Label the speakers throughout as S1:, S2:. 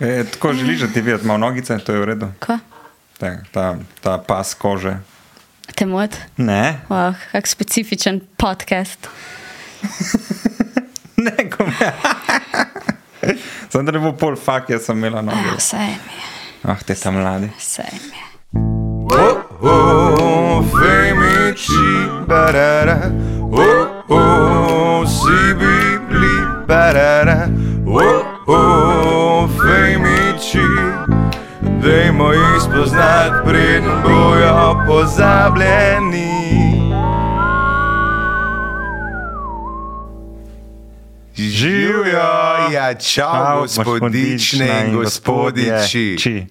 S1: E, tako želiš, da ti vidiš malo nogice, to je v redu.
S2: Ko?
S1: Ta, ta, ta pas kože.
S2: Te mod?
S1: Ne,
S2: Wow, kak specifičen podcast.
S1: ne, kome. Sam da ne bo pol fak, jaz sem imela noge.
S2: Ah, Vse mi je,
S1: Ah, te tam mladi.
S2: vse mi je.
S3: Oh, femiči, barara. Oh, oh, si bibli, barara. Oh, oh, femiči. Dajmo jih spoznat, preden bojo pozabljeni. Živijo, ja, čau, gospodične in gospodiči.
S1: Či.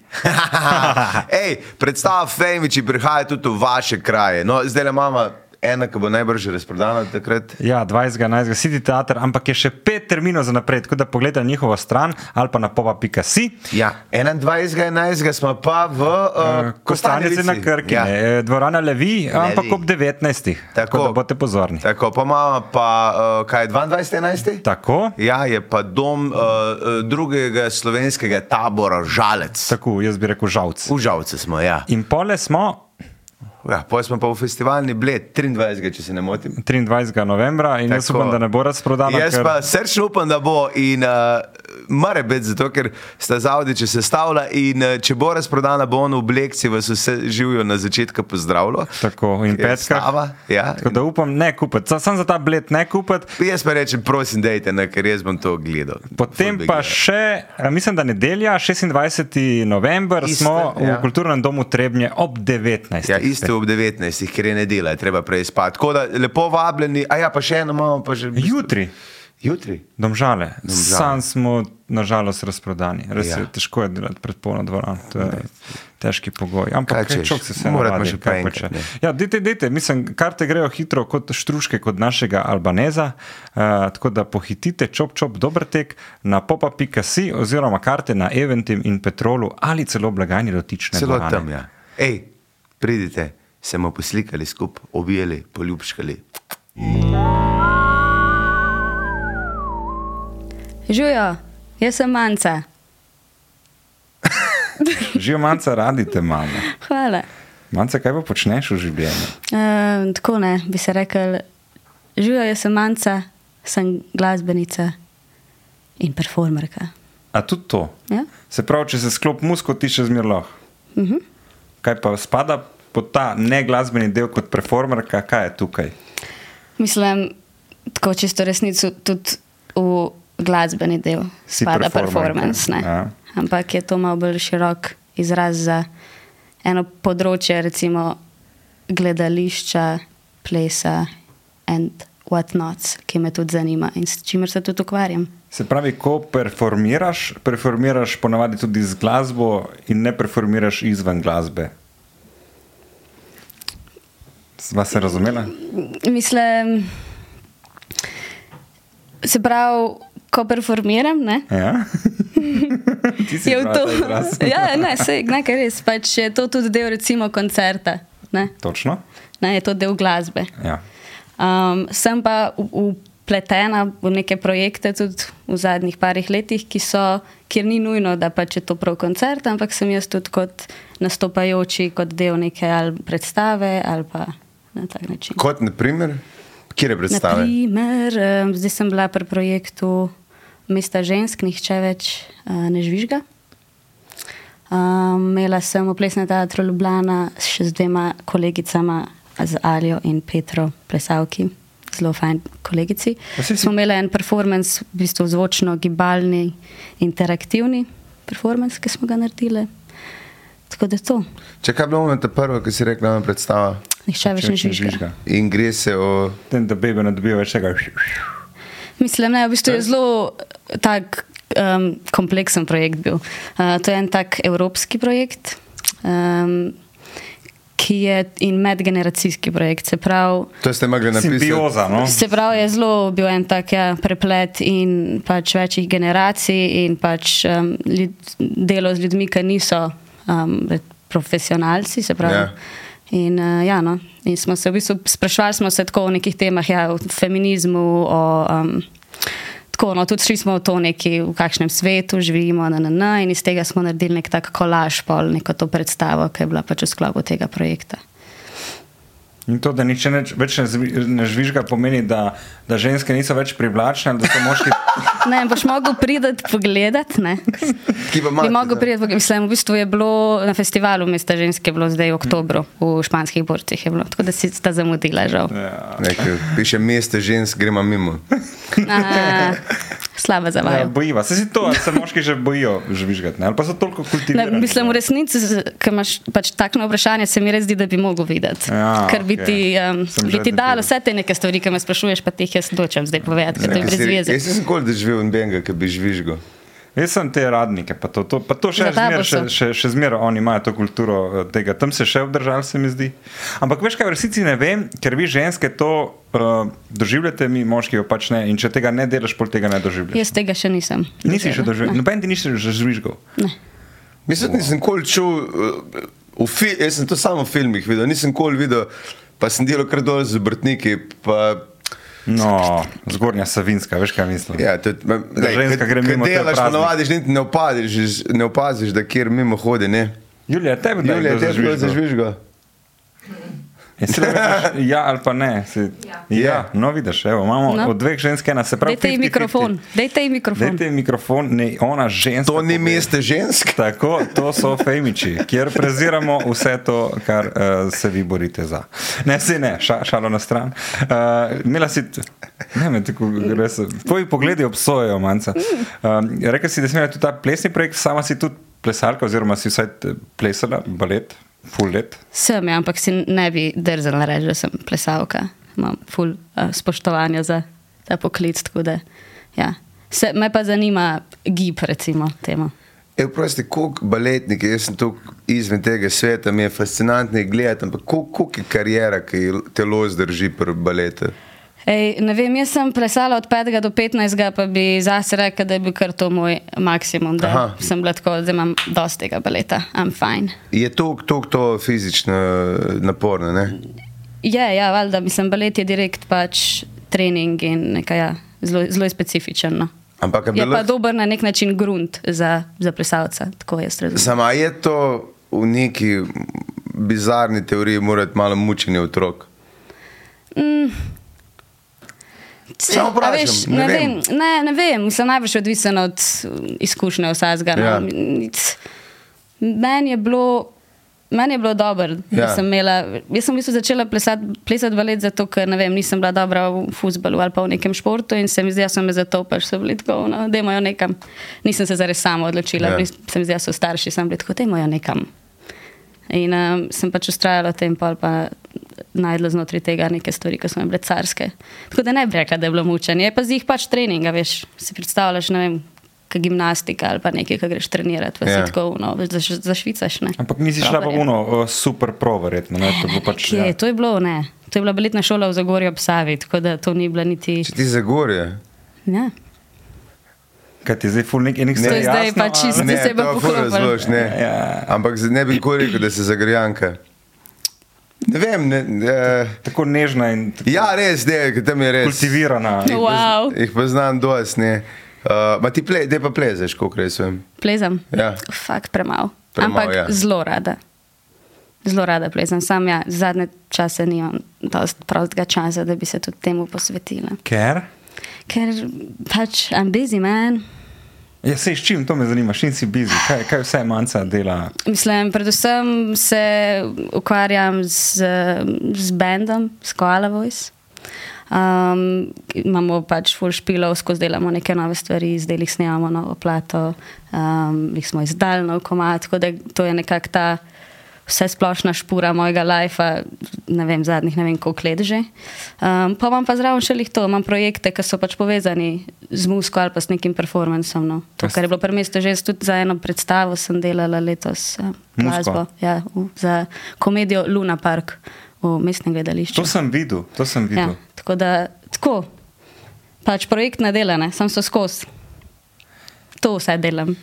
S3: Ej, predstava Femiči prihaja tudi v vaše kraje. No, zdaj le imamo ena, ki bo najbrž razprodana takrat.
S1: Ja, 20.11. City Theater, ampak je še pet terminov za naprej, tako da pogledaj njihovo stran ali pa na popa.si.
S3: Ja, 21.11. smo pa v uh,
S1: Kostanjice Eh, na Krki, ja. dvorana Levi, ampak ob 19. Tako, tako da boste pozorni.
S3: Tako, pa imamo pa, uh, kaj je 22.11.
S1: Tako,
S3: Ja, je pa dom uh, uh, drugega slovenskega tabora, žalec.
S1: tako jaz bi rekel, žavc.
S3: Užalce smo, ja.
S1: In pole smo
S3: ja Poje smo pa v festivalni bled 23, če se ne motim.
S1: 23. novembra in tako. jaz
S3: Tako.
S1: upam, da ne bo razprodana.
S3: Jaz
S1: ker-
S3: pa srčno upam, da bo in uh, mora biti, zato ker sta zavodi, če se stavlja in uh, če bo razprodana, bo on v Blekci vas vse živijo na začetku pozdravilo.
S1: Tako in
S3: Ker je
S1: petka.
S3: stava, ja.
S1: Tako da upam, ne kupiti, Sa- samo za ta bled ne kupiti.
S3: Jaz pa rečem, prosim, dejte, ne, ker jaz bom to gledal.
S1: Potem
S3: Ful bi
S1: pa
S3: gledal.
S1: še, eh, mislim, da nedelja, 26. november,
S3: Isto,
S1: smo v
S3: ja.
S1: kulturnem domu Trebnje ob 19.
S3: Ja, isto ob 19, ker je nedela, je treba prej spati. Tako da lepo vabljeni, a ja, pa še eno imamo, pa že
S1: Jutri,
S3: Jutri.
S1: domžale,
S3: Domžale.
S1: sam smo nažalost razprodani. Res ja.
S3: Ja.
S1: je težko je delati pred polno dvorano, to je težki pogoj.
S3: Kaj
S1: Ampak
S3: češ?
S1: čok se vse
S3: Morate
S1: navadi,
S3: pa
S1: kaj
S3: še pa
S1: pa
S3: enkrat,
S1: če.
S3: ne.
S1: Ja, dite, dite, mislim, karte grejo hitro kot štruške, kot našega Albaneza. Uh, tako da pohitite, čop, čop, dober tek na popa.si oziroma karte na Eventim in Petrolu ali celo blagajni dotične.
S3: Celo
S1: dvorane.
S3: tam, ja. Ej, pridite, se bomo poslikali skupaj, objeli, poljubškali.
S2: Žujo, jaz sem manca.
S1: Živijo manjka, radite mame.
S2: Hvala.
S1: Manjka, kaj pa počneš v življenju?
S2: Uh, tako ne, bi se rekel, žujo, jaz sem manca, sem glasbenica in performerka.
S1: A tudi to.
S2: Ja?
S1: Se pravi, če se sklop musko, ti še zmerlo.
S2: Uh -huh.
S1: Kaj pa spada pod ta ne glasbeni del kot performerka, kaj je tukaj?
S2: Mislim, tako čisto resnico, tudi v glasbeni del
S1: Si
S2: spada
S1: performerka,
S2: performance. ne.
S1: ja.
S2: Ampak je to malo bolj širok izraz za eno področje, recimo gledališča, plesa in whatnots, ki me tudi zanima in s čimer se tudi ukvarjam.
S1: Se pravi, ko performiraš, performiraš ponavadi tudi z glasbo in ne performiraš izven glasbe. Sva se razumela?
S2: Mislim, se pravi, ko performiram, ne?
S1: Ja. Ti si
S2: je v
S1: izbrala
S2: to.
S1: ta izraz.
S2: ja, ne, sej, nekaj res. Pač je to tudi del, recimo, koncerta. Ne?
S1: Točno.
S2: Ne, je to del glasbe.
S1: Ja.
S2: Um, sem pa u- upletena v neke projekte tudi v zadnjih parih letih, ki so, kjer ni nujno, da pač je to prav koncert, ampak sem jaz tudi kot nastopajoči, kot del neke ali predstave ali pa na tak način.
S3: Kot naprimer, kje je predstave?
S2: Naprimer, um, zdaj sem bila pri projektu Mesta žensk, nihče več uh, ne žvižga. Um, imela sem v plesnem teatru Ljubljana še z dvema kolegicama, z Aljo in Petro, plesalki, zelo fajn kolegici.
S1: Pa saj si-
S2: Smo imeli en performance, v bistvu zvočno, gibalni, interaktivni performance, ki smo ga naredili. Tako da to,
S3: Če kaj bilo na te prvo, ki si rekla, ima predstava
S2: nihče več ne žvižga.
S3: in gre se o.
S1: Ten, da bebe ne dobijo več tega.
S2: Mislim, ne, v bistvu je zelo eh, tak, um, kompleksen projekt bil. Uh, to je en tak evropski projekt, um, ki je in medgeneracijski projekt. Se pravi,
S3: To ste mogli napisati.
S1: Simbioza, no?
S2: se pravi je zelo bil en tak ja, preplet in pač večjih generacij in pač um, ljud, delo z ljudmi, ki niso um, profesionalci. se Pravi,
S3: Ja.
S2: yeah. In, uh, ja, no. in smo se v bistvu sprašvali smo se tako o nekih temah, ja, o feminizmu, o um, tako, no, tudi šli smo v to neki, v kakšnem svetu živimo, na NN, in iz tega smo naredili nek tak kolaž, pol neko to predstavo, ki je bila pač v sklopu tega projekta.
S1: In to, da niče neč, več ne, zvi, ne žvižga, pomeni, da, da ženske niso več privlačne, da so moški.
S2: Ne, boš mogel priti pogledat. Ne?
S3: Ki pa
S2: Bi
S3: mati,
S2: mogel
S3: ne.
S2: priti pogledat. Mislim, v bistvu je bilo na festivalu mesta ženske, je bilo zdaj v oktobru, v španskih borcih je bilo, tako da si sta zamudila, žal.
S1: Ja.
S3: Nekaj, piše mesta žensk, gremo mimo.
S2: A, slaba za
S1: Ja,
S2: vaju.
S1: bojiva se si to, ali se moški že bojijo žvižgati, ne? ali pa so toliko
S2: Ne,
S1: kultivirani.
S2: mislim, v resnici, ki imaš pač takšno vprašanje, se mi res zdi, da bi mogel videti.
S1: Ja,
S2: Ker bi
S1: okej.
S2: ti, um,
S1: Sem
S2: bi
S1: že
S2: ti dal
S1: debil.
S2: vse te neke stvari, ki me sprašuješ, pa teh jaz nočem zdaj povedati, ker to je brez
S3: Nekateri-
S2: veze.
S3: Jaz nisem nikoli doživel nobenega, ki bi žvižgal.
S1: Jaz sem te radnike, pa to, to, pa to še
S2: Za tabo
S1: zmeraj, še,
S2: so.
S1: še, še zmeraj oni imajo to kulturo eh, tega, tam se še obdržali, se mi zdi. Ampak veš kaj, v resnici ne vem, ker vi ženske to uh, doživljate, mi moški jo pač ne in če tega ne delaš, pol tega ne doživljaš.
S2: Jaz tega še nisem.
S1: Nisi še
S2: doživela.
S1: doživel, noben ti nisi že žvižgal.
S3: Mislim, da nisem nikoli čutil, uh, v fi- jaz sem to samo v filmih videl, nisem nikoli videl, pa sem delal kar dol z obrtniki. Pa,
S1: No, zgornja Savinska, veš kaj mislim.
S3: ja, tudi, ma, lej,
S1: ženska
S3: kad-
S1: gre
S3: kad
S1: mimo, to je
S3: Delaš,
S1: praznik.
S3: ponovadiš, niti ne opaziš, ne opaziš, da kjer mimo hodi. Ne?
S1: Julija, tebi da
S3: Julija,
S1: je
S3: te je zažvižgal.
S1: Ja, si rečeš, ja ali pa ne. Si, ja. ja, no vidiš, evo, imamo no.
S2: No.
S1: od dveh žensk ena, se pravi,
S2: Dajte ji
S1: 50-50.
S2: mikrofon, dajte ji mikrofon.
S1: Dajte ji mikrofon, ne ona ženska.
S3: To
S1: pove.
S3: ni mesta žensk.
S1: Tako, to so femiči, kjer preziramo vse to, kar uh, se vi borite za. Ne, se ne, ša, šalo na stran. Uh, Mila si, t- ne vem, tako res. Tvoji pogledi obsojajo, manjka. Um, Rekel si, da si imela tudi ta plesni projekt, sama si tudi plesalka, oziroma si vsaj eh, plesala balet, full let.
S2: Sem, ja, ampak si ne bi drznila reči, da sem plesalka. Imam ful uh, spoštovanja za ta poklic. tako Da, ja. Se, me pa zanima gib, recimo, tema.
S3: Je vprosti, E, koliko baletnikov, jaz sem tu izven tega sveta, mi je fascinantno jih gledati, ampak koliko koliko je karijera, ki jo telo zdrži pri baletu.
S2: Ej, ne vem, jaz sem plesala od 5 do 15, pa bi zase rekla, da je bil kar to moj maksimum. Da
S3: Aha.
S2: Aha. sem bila tako, da imam dosti tega baleta, I'm fine.
S3: Je to, to, to fizično eh, naporno, ne?
S2: Je, ja, valjda, mislim, balet je direkt pač trening in nekaj ja, zelo, zelo je specifičen. No.
S3: Ampak a bi
S2: Je pa
S3: lahko-
S2: dober na nek način grunt za, za plesalca, tako jaz razumem.
S3: Sama je to v neki bizarni teoriji, mora biti malo mučenje otrok. Samo
S2: A
S3: vprašam,
S2: veš,
S3: ne
S2: ne,
S3: vem.
S2: vem. Ne, ne vem, sem najbrž odvisen od mm, izkušnje vsakega.
S3: Ja.
S2: Ja. Meni je bilo. Meni je bilo dobro, da
S3: Ja.
S2: ja. sem imela. Jaz sem v bistvu začela plesati, plesati balet, zato ker ne vem, nisem bila dobra v futbalu ali pa v nekem športu in se mi zdi, da so me zato pač so bili tako, no, da imajo nekam. Nisem se zares sama odločila,
S3: Ja.
S2: ja. se mi zdi, da so starši, sem bila tako, da imajo nekam. In um, sem pač ustrajala v tem, pol pa najdla znotraj tega neke stvari, ki so mi bile carske. Tako da ne bi rekla, da je bilo mučenje, je pa zih pač treninga, veš. Si predstavljaš, ne vem, kaj gimnastika ali pa nekaj, kaj greš trenirati, pa
S3: Ja.
S2: yeah. si tako, no, veš, zaš, zašvicaš. Ne?
S1: Ampak nisi šla pa
S2: Proper je. Eh,
S1: uno, uh, super pro, verjetno. Ne, to bo pač,
S2: Kje,
S3: ja.
S2: to je bilo, ne. To je bila letna šola v Zagorju ob Savi, tako da to ni bila niti.
S3: Če ti zagorje.
S2: Ja.
S1: Kaj ti je zdaj ful nek enih
S2: To je zdaj pa čisto- Zdaj se je pa
S3: to fura
S2: poklopilo.
S3: zlož, ne.
S1: Ja.
S3: Ampak z- ne bi nikoli rekel, da si zagrjanka. Ne vem, ne, eh,
S1: Tako nežna in tako
S3: ja, res, ne, ker tam je res.
S1: kultivirana.
S2: No.
S3: Jih
S2: Wow.
S3: pozn- Jih poznam dosti, ne. Uh, ma ti ple, daj pa plezeš, koliko res vem.
S2: Plezam.
S3: Ja.
S2: Fakt premalo.
S3: Premalo,
S2: Ampak
S3: ja.
S2: ja. zelo rada. Zelo rada plezam. Sam ja, zadnje čase nimam dosti prostega časa, da bi se tudi temu posvetila.
S1: Ker?
S2: Ker pač I'm busy, man.
S1: Ja, sej s čim to me zanima, s čim si bizi, kaj, kaj vse manjka dela.
S2: Mislim, predvsem se ukvarjam z, z bendom, s Koala Voice. Um, imamo pač full špilov, skozi delamo neke nove stvari, zdaj jih snemamo novo plato, um, jih smo izdali nov komad, tako da to je nekako ta vse splošna špura mojega lajfa, ne vem, zadnjih ne vem koliko let že. Um, pa imam pa zraven še lih to, imam projekte, ki so pač povezani z muziko ali pa s nekim performancem. No. To, kar je bilo premesto, že jaz tudi za eno predstavo sem delala letos, eh,
S1: Muziko?
S2: glasbo, ja, v- za komedijo Luna Park v mestnem gledališču.
S1: To sem videl, to sem videl.
S2: Ja, tako da, tako, pač projektna dela, ne, sem so skozi. To vse delam.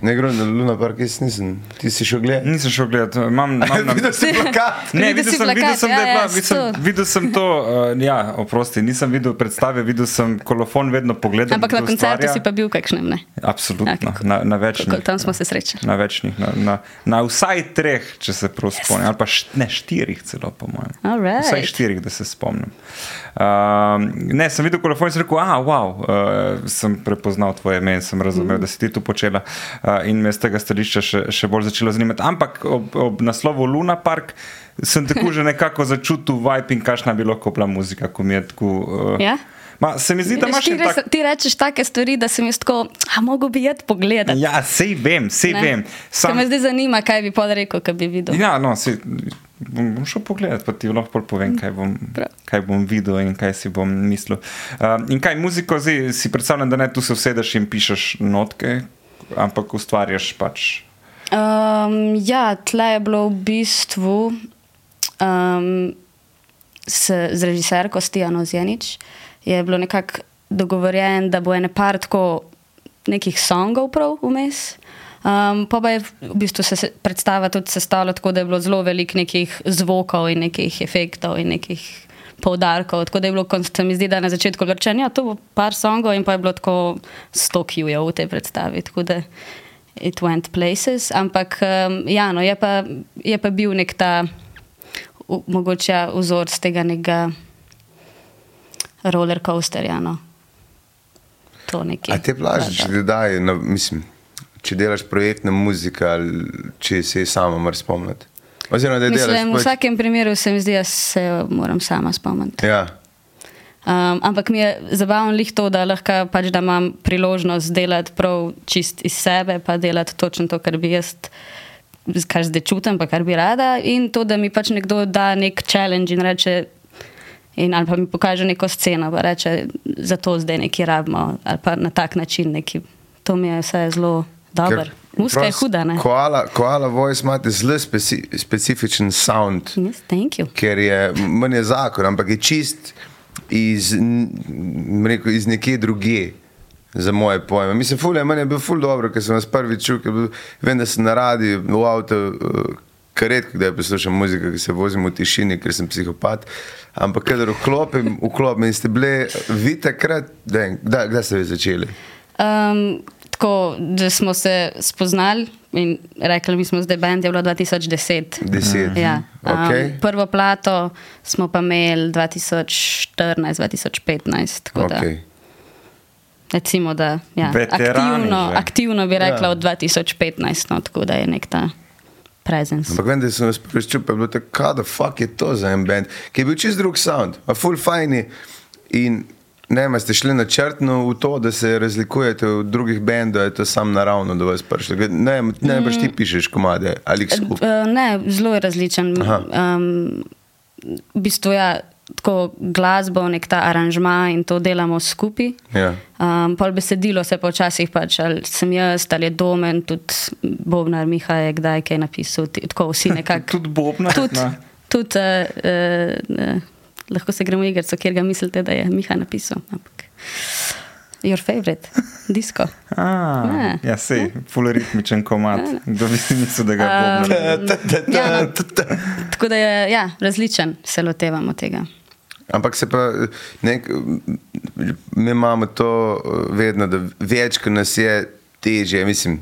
S3: Ne gre na Luna Park, jaz nisem. Ti si šel gledati.
S1: Nisem šel gledat, imam, imam na
S3: Videl si plakat.
S1: Ne,
S2: Videl
S1: videl
S2: si
S1: sem, videl
S2: plakat,
S1: sem, da je bila,
S2: ja, ja,
S1: videl
S2: sto.
S1: sem, videl sem to, uh, ja, oprosti, nisem videl predstave, videl sem kolofon, vedno pogledam.
S2: Ampak na
S1: kdo
S2: koncertu
S1: ustvarja.
S2: si pa bil v kakšnem, ne?
S1: Absolutno,
S2: Ja, kako-
S1: na, na večnih.
S2: Kako- Tam smo se srečali.
S1: Na večnih, na, na, na vsaj treh, če se prav spomnim, ali pa št, ne štirih, celo po mojem.
S2: Alright.
S1: Vsaj štirih, da se spomnim. Um, ne, sem videl telefon in sem rekel, ah, wow, uh, sem prepoznal tvoje ime in sem
S2: Mhm.
S1: razumel, mm. da si ti to počela. Uh, in me z tega stališča še, še bolj začelo zanimati. Ampak ob, ob naslovu Luna Park sem tako že nekako začutil vibe in kakšna bi lahko bila muzika, ko mi je tako. Uh,
S2: Ja?
S1: Ma, se mi zdi, da
S2: Veš,
S1: imaš
S2: ti,
S1: en tak
S2: res, ti rečeš take stvari, da sem jaz tako, a mogo bi jed pogledati.
S1: Ja, sej vem, sej
S2: Ne.
S1: vem.
S2: Sam... Me zdaj zanima, kaj bi pol rekel, kaj bi videl. Ja.
S1: Ja, no, si, bom, bom šel pogledat, pa ti lahko pol povem, kaj bom,
S2: Mm, Prav.
S1: kaj bom videl in kaj si bom mislil. Um, in kaj muziko zdaj si predstavljam, da ne tu se usedeš in pišeš notke, ampak ustvarjaš pač.
S2: Um, ja, tle je bilo v bistvu um, s, z režiserko Stijano Zjenič. Je bilo nekako dogovorjen, da bo ene par tako nekih songov prav vmes. Um, pa pa je v v bistvu se se predstava tudi sestavljala tako, da je bilo zelo veliko nekih zvokov in nekih efektov in nekih poudarkov. Tako da je bilo, kot se mi zdi, da na začetku rečeno, ja, to bo par songov in pa je bilo tako sto kijev v tej predstavi. Tako da it went places. Ampak um, ja, no, je, pa, je pa bil nek ta v- mogoče ja, vzorec tega nekega roller coasterja. No. To nekje.
S3: A te plaže, če ti daje, na- mislim, če delaš projektna muzika, ali če se je sama mar spomniti. Oziroma, da je delaš.
S2: Mislim, v
S3: pač-
S2: vsakem primeru se mi zdi, da se moram sama spomniti.
S3: Ja.
S2: Um, ampak mi je zabavno lih to, da lahko pač, da imam priložnost delati prav čist iz sebe, pa delati točno to, kar bi jaz, kar zdaj čutim, pa kar bi rada. In to, da mi pač nekdo da nek challenge in reče, in, ali pa mi pokaže neko sceno, pa reče, za to zdaj nekaj rabimo, ali pa na tak način neki. To mi je vse zelo dobro.
S3: Ker
S2: Muska je
S3: prost-
S2: huda, ne?
S3: Koala, koala voice imate zelo speci, specifičen sound.
S2: Yes, thank you.
S3: ker je meni je zakon, ampak je čist iz, n- bom rekel, iz nekje druge. Za moje pojme. Mislim, ful je, meni je bil ful dobro, ker sem vas prvič čutil, ker bil- vem, da sem na radiju v avtu, eh, kar redko, da poslušam muziko, ki se vozim v tišini, ker sem psihopat. Ampak, kadar vklopim, vklopim in ste bili eh, vi takrat, da, je- da, kdaj ste vi začeli?
S2: Um, tako da smo se spoznali in rekli, mi smo zdaj bend, je bilo 2010.
S3: Deset. Mhm.
S2: Ja. Um,
S3: Okej.
S2: Prvo plato smo pa imeli 2014-2015. Tako da,
S3: Okej.
S2: recimo, da ja,
S1: Veterani
S2: aktivno,
S1: že.
S2: aktivno bi rekla
S3: Ja.
S2: ja. od 2015, no, tako da je nek ta prezenc.
S3: Ampak vem, da sem vas preščil, pa je bilo tako, kaj da fuck je to za en bend, ki je bil čist drug sound, a full fajni. In ne vem, a ste šli načrtno v to, da se razlikujete od drugih bendov, je to sam naravno do vas prišlo. Gled- Ne, vem, ne vem, pač
S2: Mm.
S3: ti pišeš komade ali jih skupaj.
S2: Eh, Ne, zelo je različen.
S3: Aha.
S2: Um, v bistvu ja, tako glasbo, nek ta aranžma in to delamo skupaj.
S3: Ja.
S2: Um, pol besedilo se pa včasih pač, ali sem jaz, ali je domen, tudi Bobnar Miha je kdaj kaj napisal, ti- tako vsi nekako.
S1: Tudi Bobnar,
S2: Tudi,
S1: ne.
S2: tud, uh, uh, uh, lahko se gremo igrico, kjer ga mislite, da je Miha napisal. Ampak. Your favorite, disko.
S1: Ah,
S2: Ne.
S1: ja, sej, poloritmičen komat. Kdo bi si mislil, da ga
S2: Um,
S1: bo?
S2: Ja, no. Tako da je ja, različen, se lotevamo tega.
S3: Ampak se pa, nek, mi imamo to eh, vedno, da več, ko nas je, teže. Mislim,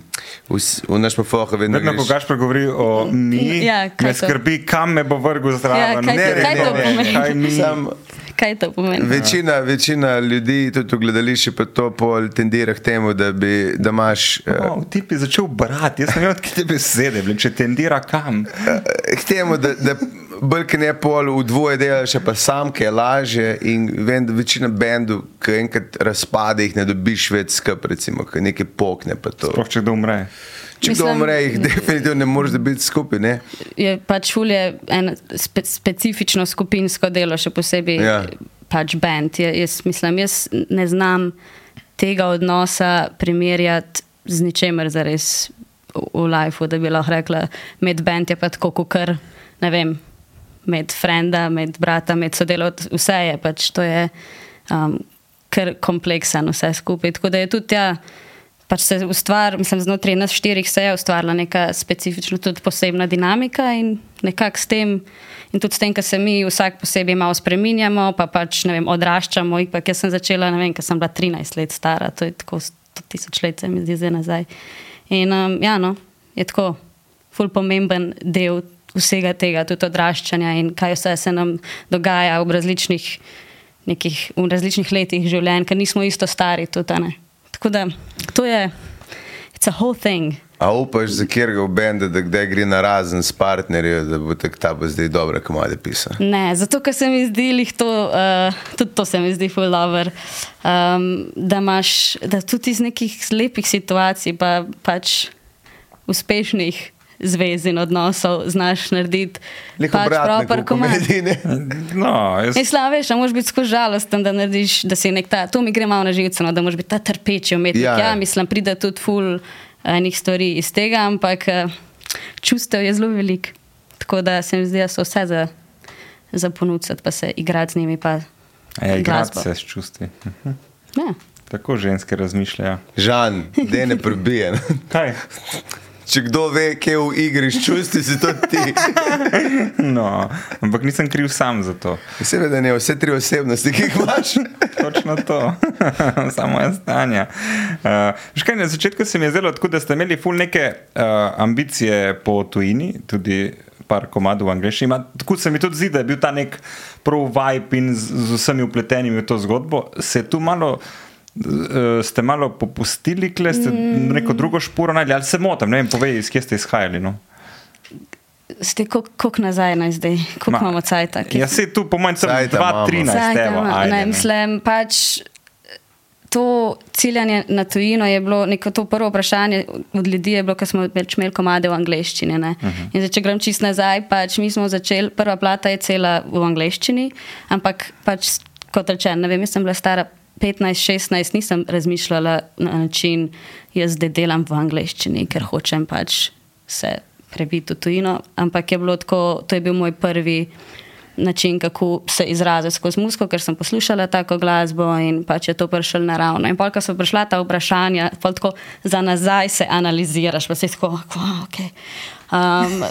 S3: v, s- v naš pofoha vedno.
S1: Vedno, ko
S3: greš-
S1: Gašpor govori o mi,
S2: Ja, kaj
S1: me
S2: to?
S1: skrbi, kam me bo vrgel zraven.
S2: Ja, kaj
S3: Ne,
S2: to-
S3: ne,
S2: kaj
S3: ne,
S2: to
S3: ne,
S2: pomeni?
S1: Kaj mi?
S3: Sam,
S2: Kaj to pomeni?
S3: Večina, večina ljudi, tudi v gledališču, pa to pol tendira k temu, da, bi, da imaš. eh,
S1: Oh, ti bi začel brati, jaz ne vem, odkje te besede, bile, če tendira kam.
S3: eh, K temu, da, da brke ne pol v dvoje delaš, pa sam, ki je lažje. In vem, da večina bendov, ki enkrat razpade, jih ne dobiš več skup, recimo, ki nekaj pokne. pa to.
S1: Sploh če kdo umre.
S3: Če kdo
S2: Mislim-
S3: umre, jih definitivno ne moreš dobiti skupaj. Ne?
S2: je pač ulje eno spe, specifično skupinsko delo, še posebej
S3: Ja.
S2: ja. pač bend. Ja- Jaz mislim, jaz ne znam tega odnosa primerjati z ničemer za res v, v lifeu, da bi lahko rekla, med bend je pa tako, kot kar ne vem. Med frenda, med brata, med sodelavcem, vse je pač to je um, kar kompleksen, vse skupaj. Tako da je tudi ja, pač se ustvar, mislim, znotraj nas štirih se je ustvarila neka specifična, tudi posebna dinamika in nekako s tem, in tudi s tem, ker se mi vsak posebej malo spreminjamo, pa pač ne vem, odraščamo. Ipak jaz sem začela, ne vem, ker sem bila 13 let stara, to je tako 100 tisoč let, se mi zdi zdaj nazaj. In um, ja, no, je tako, ful pomemben del vsega tega, tudi odraščanja in kaj vse se nam dogaja v različnih, nekih, v različnih letih življenja, ker nismo isto stari tudi. a Ne? Tako da to je, it's a whole thing.
S3: A upaš za kjerga v bende, da kdaj gre na razen s partnerjem, da bo tak ta bo zdaj dobra komada pisala.
S2: Ne, zato ker se mi zdi, lih to, uh, tudi to se mi zdi fulover, um, da imaš, da tudi iz nekih lepih situacij, pa pač uspešnih zvez in odnosov znaš narediti
S3: Lepo pač
S2: proper
S3: bratno,
S2: komad.
S3: komedine.
S1: No, jaz,
S2: Jaz slavim, veš, a moraš biti skozi žalosten, da narediš, da si nek ta, to mi gre malo na živce, no, da moraš biti ta trpeči umetnik.
S3: Ja,
S2: Ja,
S3: ja.
S2: ja mislim, pride tudi ful eh, enih stvari iz tega, ampak eh, čustev je zelo veliko. Tako da se mi zdi, da so vse za, za ponuditi, pa se igrati z njimi. Pa,
S1: e, igrati
S2: glasbo.
S1: se s čustvi.
S2: ja.
S1: Tako ženske razmišljajo.
S3: Žan, da ne prebijen.
S1: Kaj?
S3: Če kdo ve, kje v igri s čustvi, si to ti.
S1: No, ampak nisem kriv sam za to.
S3: Seveda ne, vse tri osebnosti, ki jih imaš.
S1: Točno to, samo je stanje. Uh, veš kaj, na začetku se mi je zdelo tako, da ste imeli ful neke uh, ambicije po tujini, tudi par komadov v angleščini. Ma- Tako se mi tudi zdi, da je bil ta nek pro-vibe in z, z vsemi upletenimi v to zgodbo. Se je tu malo. eh, Ste malo popustili, kle ste mm. neko drugo šporo najdli, ali se motim, ne vem, povej, iz kje ste izhajali. No?
S2: Ste kako nazaj naj zdaj,
S1: Ma,
S2: koliko imamo cajt?
S1: Ja, se tu, po mojem, sem
S3: Cajta imamo.
S1: 2-13, evo,
S2: Zajtrama,
S1: ajde,
S2: ja, ne,
S1: ne.
S2: mislim, pač to ciljanje na tujino je bilo neko to prvo vprašanje od ljudi, je bilo, ker smo več imeli komade v angleščini. Uh -huh. In zdaj, če grem čist nazaj, pač mi smo začeli, prva plata je cela v angleščini, ampak pač kot rečeno, ne vem, jaz sem bila stara. 15-16 nisem razmišljala na način, jaz zdaj delam v angleščini, ker hočem pač se prebiti v tujino, ampak je bilo tako, to je bil moj prvi način, kako se izrazi skozi muziko, ker sem poslušala tako glasbo in pač je to prišlo naravno. In polka so prišla ta vprašanja, pol tako za nazaj se analiziraš, pa si tako, wow, ok. Um,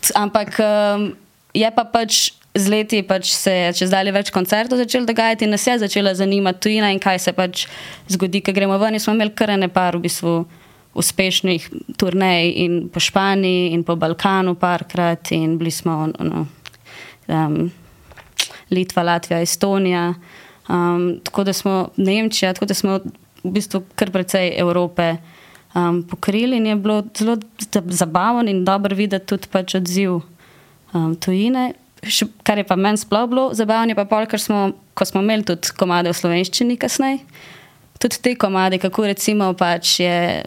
S2: c- ampak um, je pa pač. Z leti pač se je čez dalje več koncertov začelo dogajati, in nas je začela zanimati tujina in kaj se pač zgodi, ko gremo ven. In smo imeli kar nekaj, v bistvu, uspešnih turnej in po Španiji in po Balkanu parkrat in bili smo no, ono, um, Litva, Latvija, Estonija, um, tako da smo Nemčija, tako da smo v bistvu kar precej Evrope um, pokrili in je bilo zelo za- zabavno in dobro videti tudi pač odziv um, tujine. Še, kar je pa meni sploh bilo zabavno, je pa pol, ker smo, ko smo imeli tudi komade v slovenščini kasneje, tudi te komade, kako recimo pač je,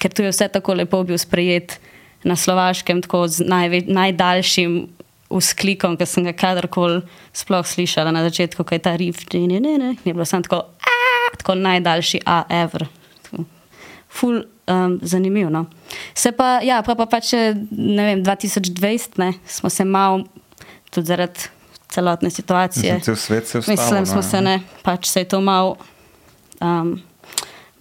S2: ker tu je vse tako lepo bil sprejet na slovaškem, tako z najve, najdaljšim vzklikom, ki sem ga kadarkoli sploh slišala na začetku, ko je ta riff, ne, ne, ne, ne, je bilo samo tako, "A", tako najdaljši A, ever. Tako ful, um, zanimivo. No. Se pa, ja, pa, pa, pa če ne vem, 2020 ne, smo se malo, tudi zaradi celotne situacije.
S1: Mislim, cel svet se je ustavil,
S2: Mislim, smo
S1: no,
S2: se
S1: ja.
S2: ne, pač se je to malo. Um,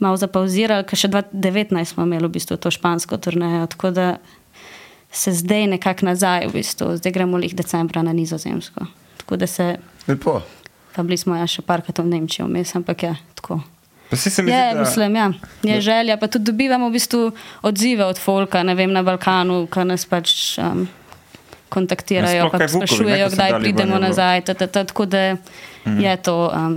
S2: Mal zapauzirali, ker še 2019 smo imeli v bistvu to špansko turnejo, tako da se zdaj nekako nazaj, v bistvu. zdaj gremo lih decembra na Nizozemsko. Tako da se,
S3: Lepo.
S2: pa bili smo ja še parkrat v Nemčiji, vmes, ampak ja, tako.
S1: Pa saj se mi
S2: Je,
S1: zdi, da-
S2: mislim, ja. je želja, pa tudi dobivamo v bistvu odzive od folka ne vem, na Balkanu, ki nas pač um,
S1: Ja,
S2: kontaktirajo,
S1: sploh
S2: pa
S1: kaj Vukovi, ne,
S2: sprašujejo,
S1: ko so
S2: kdaj
S1: dali no." ven,
S2: pridemo
S1: je bilo.
S2: nazaj. Ta, ta, ta, tako da je to um,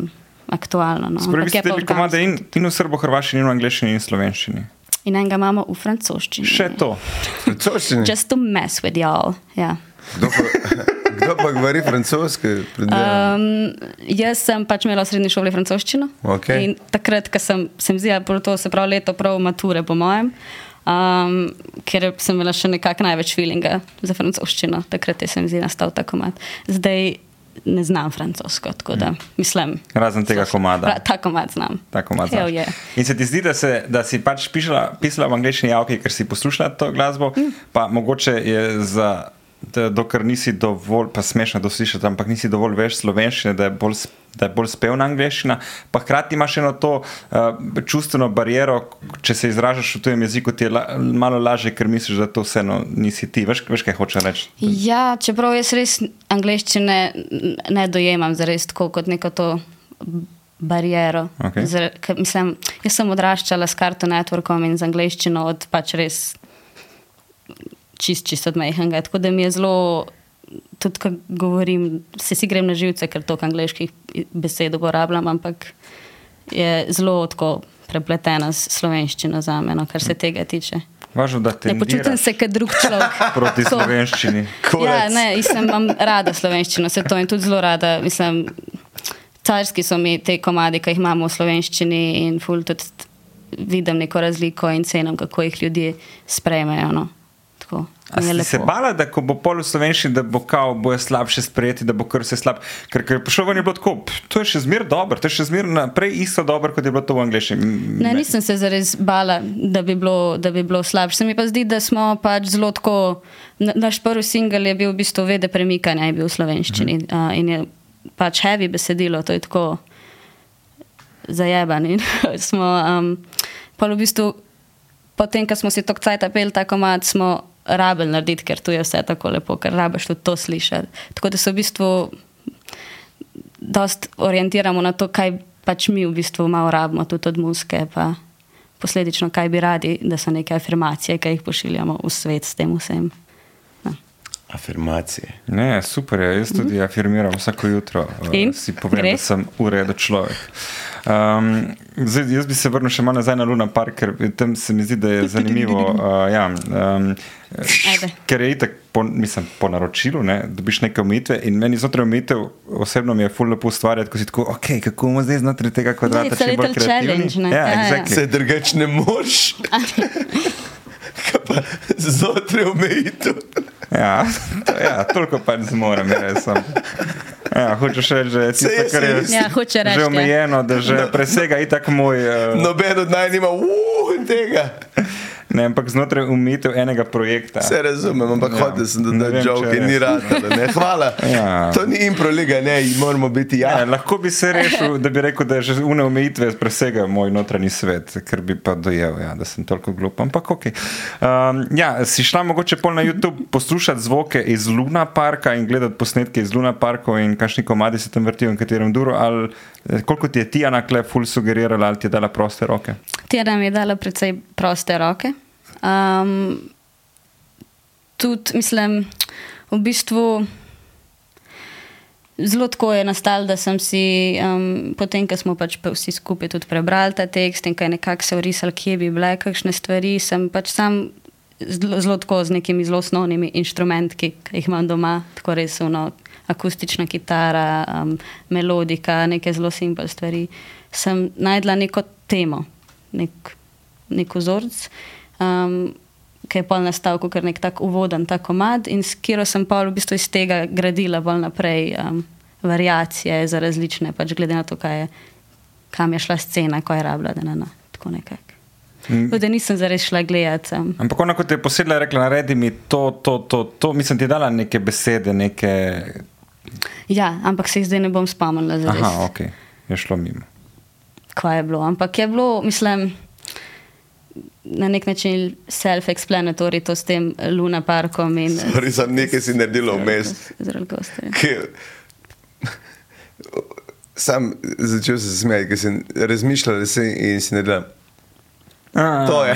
S2: aktualno. No.
S1: Spravi
S2: Ampak je
S1: ste
S2: pa
S1: bili
S2: organsko.
S1: komade in, in v srbo-hrvaščini, in v angleščini, in slovenščini.
S2: In enega imamo v francoščini.
S1: Še to.
S3: Francoščine.
S2: Just to mess with y'all. Ja.
S3: Kdo pa, kdo pa govori francosko? predvidevam?
S2: Um, jaz sem pač imela v srednji šoli francoščino.
S3: Okej.
S2: In takrat, ko sem, sem zila, to se pravi leto prav mature, po mojem, um, ker sem imela še nekako največ feelinga za francoščino, takrat je sem zila nastal ta komat. Zdaj ne znam francosko, tako da mislim.
S1: Razen tega komada.
S2: Ra, ta komat znam.
S1: Tako malo
S2: Hell
S1: znaš.
S2: yeah.
S1: In se ti zdi, da, se, da si pač pišla, pisala v angleščini, ja, okay, ker si poslušala to glasbo, mm. pa mogoče je za. Da, dokler nisi dovolj, pa smešno to slišati, ampak nisi dovolj veš slovenščine, da je bolj s- da je bolj spevna angliščina, pa hkrati imaš eno to uh, čustveno barijero, če se izražaš v tujem jeziku, ti je la, malo lažje, ker misliš, da to vseeno nisi ti. Veš, veš kaj hočeš reči?
S2: Ja, čeprav jaz res angleščine ne dojemam zares tako kot neko to barijero.
S1: Okej.
S2: Zar- ker Mislim, jaz sem odraščala s Cartoon Networkom in z angleščino od pač res čist, čist od mehanga. Tako da mi je zelo, tudi ko govorim, se si grem na živce, ker toliko angliških besed uporabljam, ampak je zelo tako prepletena s slovenščino za me, no, kar se tega tiče.
S1: Važno, da Hm. te
S2: Ne počutim se kot drug človek.
S1: proti
S2: To.
S1: slovenščini.
S2: Ja, ne, jaz sem, imam rada slovenščino, se to in tudi zelo rada. Mislim, carski so mi te komadi, ki jih imamo v slovenščini in ful tudi vidim neko razliko in cenim, kako jih ljudje sprejmejo. No. Tako,
S1: A
S2: mi
S1: si
S2: je
S1: se
S2: lepo.
S1: bala, da ko bo pol v slovenščini, da bo kao, bojo slabše sprejeti, da bo kar vse slab. Ker, ker je prišel ven je bilo tako, "Pf, to je še zmeraj dobro, to je še zmeraj naprej isto dobro, kot je bilo to v angleščini. Mm,
S2: Ne, nisem se zares bala, da bi bilo, da bi bilo slabše. Se mi pa zdi, da smo pač zelo tako. na- Naš prvi singel je bil v bistvu Vede premikanja, je bil v slovenščini uh -huh. in je pač heavy besedilo, to je tako zajebani. smo, um, pa v bistvu, potem, ko smo si to kcajta pel, tako mat, smo rabili narediti, ker tu je vse tako lepo, ker rabiš tudi to slišati. Tako da se v bistvu dost orientiramo na to, kaj pač mi v bistvu malo rabimo tudi od muske, pa posledično, kaj bi radi, da so neke afirmacije, ki jih pošiljamo v svet s tem vsem.
S3: Afirmacije.
S1: Ne, super je, jaz tudi afirmiram vsako jutro. eh,
S2: Mhm. In?
S1: Si povem,
S2: Gre?
S1: da sem urejen človek. Um, zdaj, jaz bi se vrnil še malo nazaj na Luna Park, ker tam se mi zdi, da je zanimivo. Uh, ja, um,
S2: Ajde.
S1: ker je itak, po, mislim, po naročilu, ne, dobiš neke omejitve in meni znotraj omejitev osebno mi je fulno lepo ustvarjati, ko si tako, ok, kako bomo zdaj znotraj tega
S2: Ja,
S1: kvadrata
S2: it's a
S1: še bolj
S2: little
S1: kreativni.
S2: challenge, ne?
S1: Ja,
S2: Ja, ja.
S1: exactly.
S3: Se drugače ne moreš. Kaj pa Znotraj omejitev.
S1: Ja, to, ja, toliko pač zmorem, res sem. Ja, hočeš reči, da je tisto,
S3: jaz
S1: kar je
S3: sem- No.
S2: Ja, hoče reči,
S1: že
S2: ja.
S1: omejeno, da že presega itak moj. eh,
S3: Noben od naj nima uh, tega.
S1: Ja. Ne, ampak znotraj umitev enega projekta.
S3: Vse razumem, ampak
S1: Ja.
S3: ja, hotel sem,
S1: Ne
S3: da da
S1: vem, če
S3: žoke
S1: res.
S3: ni rad. Hvala.
S1: Ja.
S3: To ni impro liga, ne, moramo biti
S1: Ja,
S3: jasni.
S1: lahko bi se rešil, da bi rekel, da je že une omejitve presega moj notranji svet, ker bi pa dojel, ja, da sem toliko glup, ampak ok. Um, ja, si šla mogoče pol na YouTube poslušati zvoke iz Luna Parka in gledati posnetke iz Luna Parka in kakšni komadi se tam vrtijo in katerem duru, ali eh, koliko ti je Tijana Klep ful sugerirala ali ti je dala proste roke?
S2: Tjera mi je dala precej proste roke. Um, tudi, mislim, v bistvu. Zelo tako je nastalo, da sem si, um, potem, ko smo pač pa vsi skupaj tudi prebrali ta tekst in kaj nekako se orisali, kje bi bile kakšne stvari, sem pač sam zelo zelo tako z nekimi zelo osnovnimi inštrumenti, ki jih imam doma, tako res ono, akustična kitara, um, melodika, neke zelo simpel stvari. Sem najdla neko temo, nek, nek vzorc. Um, ki je pol nastal kot nek tak uvoden ta komad in s katero sem pol v bistvu iz tega gradila bolj naprej um, variacije za različne, pač glede na to, kaj je, kam je šla scena, ko je rabila, da ne, tako nekako.
S1: Mm.
S2: Tako Da nisem zares šla gledati. Um,
S1: Ampak ona, kot je posedla, je rekla, naredi mi to, to, to, to, mislim, ti je dala neke besede, neke.
S2: ja, ampak se jih zdaj ne bom spomnila, zares,
S1: Aha, ok, je šlo mimo.
S2: kaj je bilo. Ampak je bilo, mislim, na nek način self-explanatory to s tem Luna parkom in
S3: Torej, sem nekaj si naredila
S1: Ja,
S3: vmes.
S2: Zelo gosto.
S3: ki- Sam začel sem se smejati, ker sem razmišljal da se in si ne da.
S1: A,
S3: To je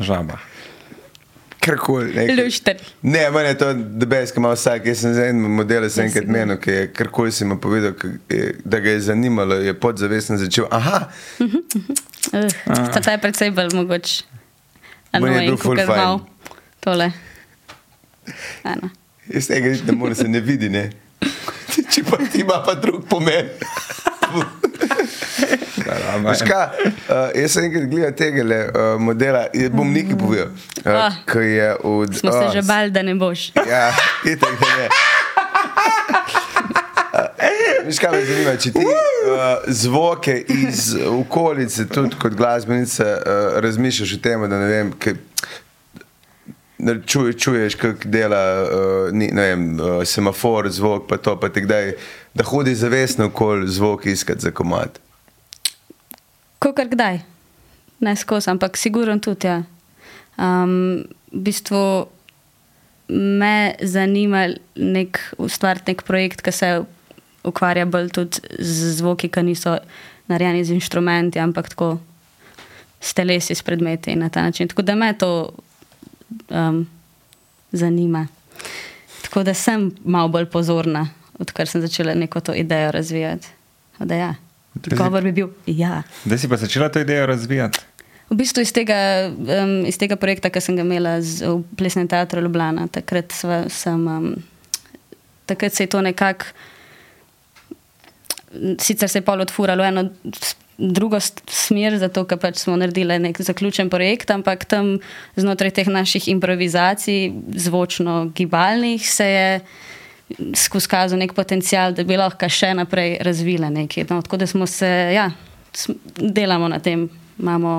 S1: Žaba.
S3: karkoli. nekaj.
S2: Lušter.
S3: Ne, meni je to debes, ki ima vsak. Jaz sem za en model, sem enkrat
S2: Sigurno.
S3: menil, ki je karkoli si mu povedal, ki je- da ga je zanimalo, je podzavestno začel. Aha,
S2: Uh, ta je precej bolj mogoč.
S3: Ah. Meni je bil ful
S2: kakor
S3: fajn.
S2: mal Tole. Ano.
S3: jaz tega niti ne morem, se ne vidi, ne. Če pa ti ima pa drug pomen. Veš kaj, uh, jaz sem enkrat gledal tega uh, modela, jaz bom nekaj povedal,
S2: Ah.
S3: uh, ki je od.
S2: Smo se
S3: ah,
S2: že bali, da ne boš.
S3: Ja, itak da ne. Uh, Veš, kaj me zanima, če ti uh, zvoke iz eh, okolice, tudi kot glasbenica, uh, razmišljaš o tem, da ne vem, kaj, ču, čuješ, kako dela uh, ni, ne vem, uh, semafor, zvok, pa to, pa ti kdaj, da hodi zavestno kol zvok iskati za komat.
S2: Kakor kdaj, ne skozi, ampak sigurno tudi. Ja. Um, v bistvu me zanima nek, ustvariti nek projekt, ki se ukvarja bolj tudi z zvoki, ki niso narejeni z inštrumenti, ampak tako s telesi, s predmeti in na ta način. Tako da me to um, zanima. Tako da sem malo bolj pozorna, odkar sem začela neko to idejo razvijati. Tako Da, ja.
S1: Zdaj si-
S2: Odgovor bi bil: ja.
S1: Zdaj si pa začela to idejo razvijati.
S2: V bistvu iz tega, um, iz tega projekta, ki sem ga imela z, v Plesnem teatru Ljubljana, takrat, sva- sem, um, takrat se je to nekako, sicer se je pol odfuralo eno s- drugo s- smer, zato ker pač smo naredili nek zaključen projekt, ampak tam znotraj teh naših improvizacij, zvočno-gibalnih, se je skozi kazal nek potencial, da bi lahko še naprej razvila nekaj. No, tako da smo se, ja, sm- delamo na tem, imamo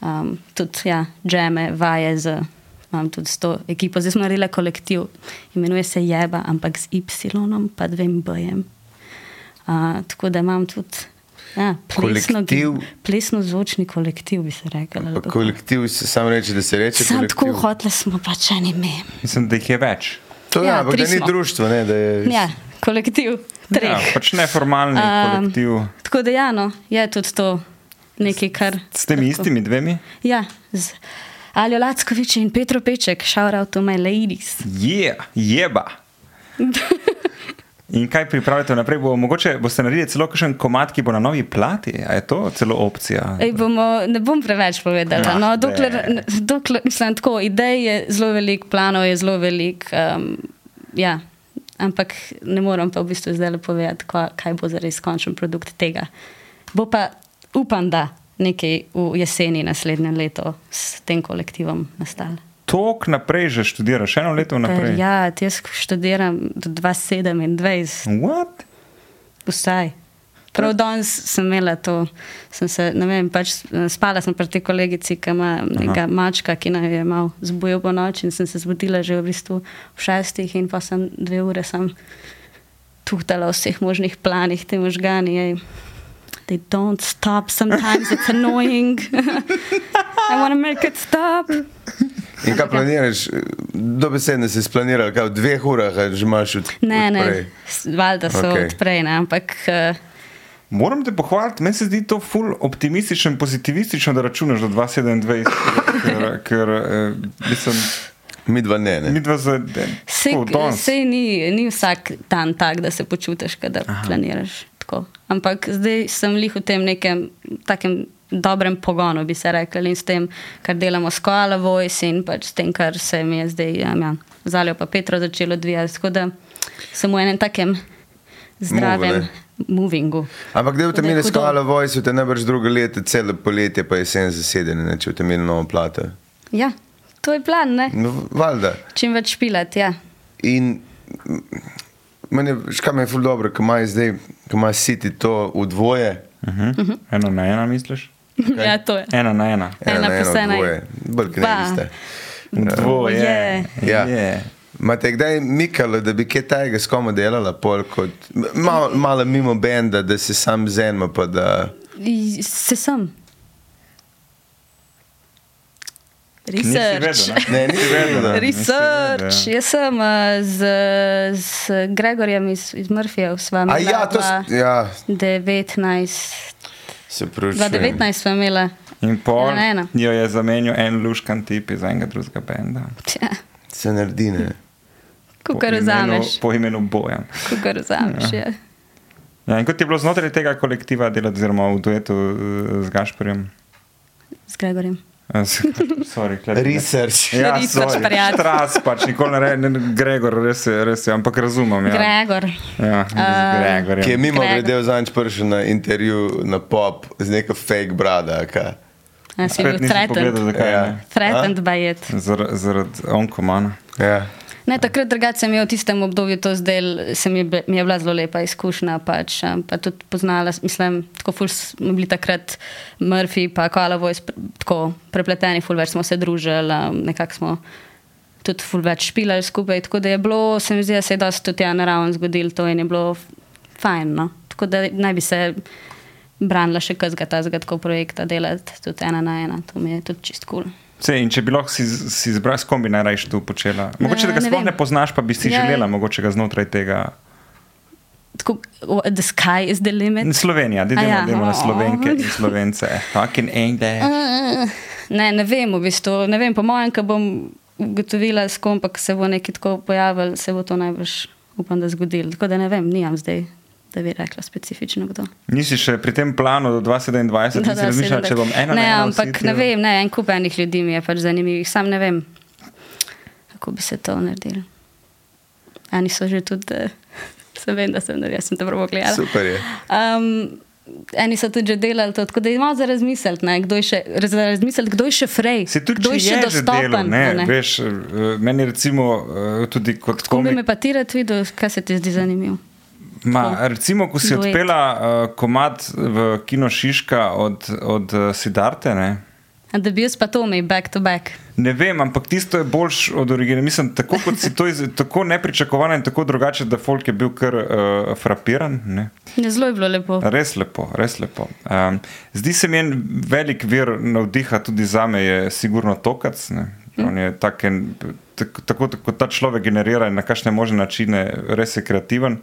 S2: um, tudi ja, džeme, vaje z. Imam tudi s to ekipo, zdaj smo naredili kolektiv, imenuje se Jeba, ampak z Y, pa dvem bojem. Uh, tako da imam tudi ja, plesno,
S3: Kolektiv.
S2: plesno zvočni kolektiv, bi se rekel.
S3: Pa kolektiv se sam reče, da se reče.
S2: Ja, Sam tako
S3: kolektiv.
S2: hoteli smo pač en ime.
S1: Mislim, da jih je več.
S3: To je,
S2: Ja,
S3: ja, ampak
S2: tri
S3: da ni
S2: smo.
S3: društvo, ne, da je.
S2: Ja, kolektiv treh.
S1: Ja, pač neformalni um,
S2: Um,
S1: kolektiv
S2: Tako da, ja, no, je tudi to nekaj, kar.
S1: s temi
S2: lahko-
S1: istimi dvemi.
S2: Ja, z Aljo Lackovič in Petro Peček, shout out to my ladies.
S1: Je, yeah, jeba. In kaj pripravljate naprej? Bo, mogoče boste naredili celo kakšen komat, ki bo na novi plati. A je to celo opcija?
S2: Ej, bomo, ne bom preveč povedala.
S1: Ah,
S2: No,
S1: ne.
S2: dokler, dokler, mislim, tako, idej je zelo veliko, planov je zelo veliko. Um, ja. Ampak ne morem pa v bistvu zdaj povedati, kva- kaj bo zares končen produkt tega. Bo pa, upam, da nekaj v jeseni naslednje leto s tem kolektivom nastalo.
S1: Tok naprej že študiraš, eno leto
S2: Per,
S1: naprej.
S2: ja, ti jaz študiram do 2027,
S1: What?
S2: vsaj. Prav danes sem imela to, sem se, ne vem, pač spala sem pri tej kolegici, ki ima nekega mačka, ki naj je mal zbudil po noči in sem se zbudila že v bistvu v šestih in pa sem dve ure sem tuhtala o vseh možnih planih, te možgani. Ej. They don't stop, sometimes it's annoying. I want to make it stop.
S3: In kaj planiraš, dobesedno si splaniral, kaj v dveh urah ali že imaš od.
S2: Ne,
S3: odprej?
S2: ne, s- valjda so
S3: Okej.
S2: okay. odprej, ne, ampak eh,
S1: Moram te pohvaliti, meni se zdi to ful optimistično in pozitivistično, da računaš do 2027, ker, ker eh, mislim,
S3: Mi dva ne. ne.
S1: mi dva za
S2: sej,
S1: Oh, danes.
S2: sej ni, ni vsak dan tak, da se počutiš, kot da Aha. planiraš tako. Ampak zdaj sem lih v tem nekem takem dobrem pogonu, bi se rekli, in s tem, kar delamo s Koala Voice in pač s tem, kar se mi je zdaj ja, ja, zaljo pa Petro začelo odvijati. Tako da sem v enem takem zdravem
S3: ne.
S2: movingu.
S3: Ampak da v tem
S2: Da je
S3: imeli
S2: hudo.
S3: skala Voice, te najbrž drugo leto, celo poletje pa jesen zasedene, ne, če v tem imeli novo plato.
S2: Ja, to je plan, ne?
S3: No, valjda.
S2: Čim več pilati, ja.
S3: In mm, meni, je- veš, kaj mi je ful dobro, ko imaš zdaj, ko imaš siti to v dvoje.
S1: Ena Mhm. na ena misliš?
S2: Okay. ja, to je.
S1: Ena na ena.
S3: Ena
S2: Ena
S3: na ena
S2: plus ena je
S3: Ja, dvoje. Brk ne
S2: dva.
S3: iste.
S1: Dvoje.
S3: Ja.
S1: Je.
S3: Imate kdaj mikalo, da bi kaj tajega s komu delala, pol kot malo, malo mimo benda, da se sam zenma, pa da
S2: I- Se sem.
S1: Nisi
S2: Research.
S1: vedel,
S3: Ne, nisi vedel, ne.
S1: Nisi
S2: Research.
S1: vedel. ja.
S2: Jaz sem eh, z, z Gregorjem iz, iz Murphyja, sva
S3: A
S2: imela
S3: ja, to s- ja.
S2: 19,
S3: se pravi.
S2: 2019 sva imela.
S1: In pol
S2: Ena na ena.
S1: jo je zamenjal en luškan tip iz enega drugega benda.
S2: Tja,
S3: Se naredi, ne.
S1: Po
S2: kukar
S1: imenu-
S2: vzameš,
S1: Po imenu Bojan.
S2: kukar vzameš. Ja.
S1: Ja, in kot je bilo znotraj tega kolektiva delati, oziroma v duetu eh, z Gašporjem?
S2: Z Gregorjem.
S1: Eh, s- Sorry, klepet.
S3: Research.
S1: Ja,
S2: Res pač prijatelj.
S1: Tras pač, nikoli ne rečem, Gregor, res je, res je, ampak razumem.
S2: Ja.
S1: Ja,
S2: Gregor.
S1: ja
S2: Um,
S1: Gregor.
S3: Ki je mimo
S2: Gregor.
S3: grede zadnjič prišel na intervju na pop z neko fake brada. a Ka.
S2: Ja, si bil
S1: pogledal,
S2: threatened.
S1: zakaj.
S3: Ja.
S1: Ja.
S2: Threatened by it.
S1: Zaradi no. zarad onkomana.
S3: Ja.
S2: Ne, takrat drugače sem imel v tistem obdobju to zdel, se mi je, bi- mi je bila zelo lepa izkušnja. Pač, em, pa tudi poznala, s- mislim, tako ful smo bili takrat Murphy, pa Koala Voice, tako prepleteni, ful več smo se družili, em, nekako smo tudi ful več špilali skupaj. Tako da je bilo, se mi zdi, da se je dosti tudi ja, naravno zgodilo to in je bilo f- fajn. No. Tako da naj bi se branila še kazga ta zgodko projekta delati, tudi ena na ena. To mi je tudi čist kul. Cool.
S1: Sej, in če bi lahko si, si izbrala, s kom bi najraje to počela? Mogoče, da ga
S2: Ja, ne
S1: sploh
S2: vem.
S1: ne poznaš, pa bi si
S2: Ja.
S1: želela, mogoče ga znotraj tega.
S2: Tako, wha- the sky is the limit.
S1: Slovenija, da idemo,
S2: Aja.
S1: idemo na slovenke in
S2: ja. Oh.
S1: slovence. Fucking English.
S2: Ne, ne vem, v bistvu. Ne vem, po mojem, ko bom ugotovila, s kom pa ko se bo nekaj tako pojavil, se bo to najbrž, upam, da zgodilo. Tako da ne vem, nimam zdaj, da bi rekla specifično kdo.
S1: Nisi še pri tem planu do 2027,
S2: Da,
S1: nisi
S2: da,
S1: razmišljala,
S2: seveda.
S1: če bom ena. na
S2: Ne,
S1: ena
S2: ampak
S1: vsi
S2: ne
S1: ti-
S2: vem, ne, en kup enih ljudi mi je pač zanimivih, sam ne vem, kako bi se to naredilo. Ani so že tudi, eh, se vem, da sem naredila, sem te prav gledala.
S3: Super je.
S2: Um, eni so tudi že delali to, tako da imamo za razmisliti, ne, kdo je še, za razmisliti, kdo je še frej,
S1: Se tudi
S2: kdo je še
S1: je že
S2: dostopen.
S1: delo,
S2: a
S1: ne, ne. Veš, eh, meni recimo eh, tudi kot
S2: Ko bi
S1: komik
S2: me pa ti rad videl, kaj se ti zdi zanimivo.
S1: Ma,
S2: Tako.
S1: recimo, ko si
S2: Duet.
S1: odpela uh, komad v Kino Šiška od, od uh, Sidarte. Ne?
S2: A Da bi jaz pa to imel back to back.
S1: ne vem, ampak tisto je boljš od originala. Mislim, tako kot si to iz, tako nepričakovano in tako drugače, da folk je bil kar uh, frapiran. Ne?
S2: Ne, Ja, Zelo je bilo lepo.
S1: Res lepo, res lepo. Um, zdi se mi en velik vir navdiha, tudi za me je sigurno tokac. ne.
S2: Hm.
S1: On je tak en, tak- tako, tako ta človek generira in na kakšne možne načine, res je kreativen.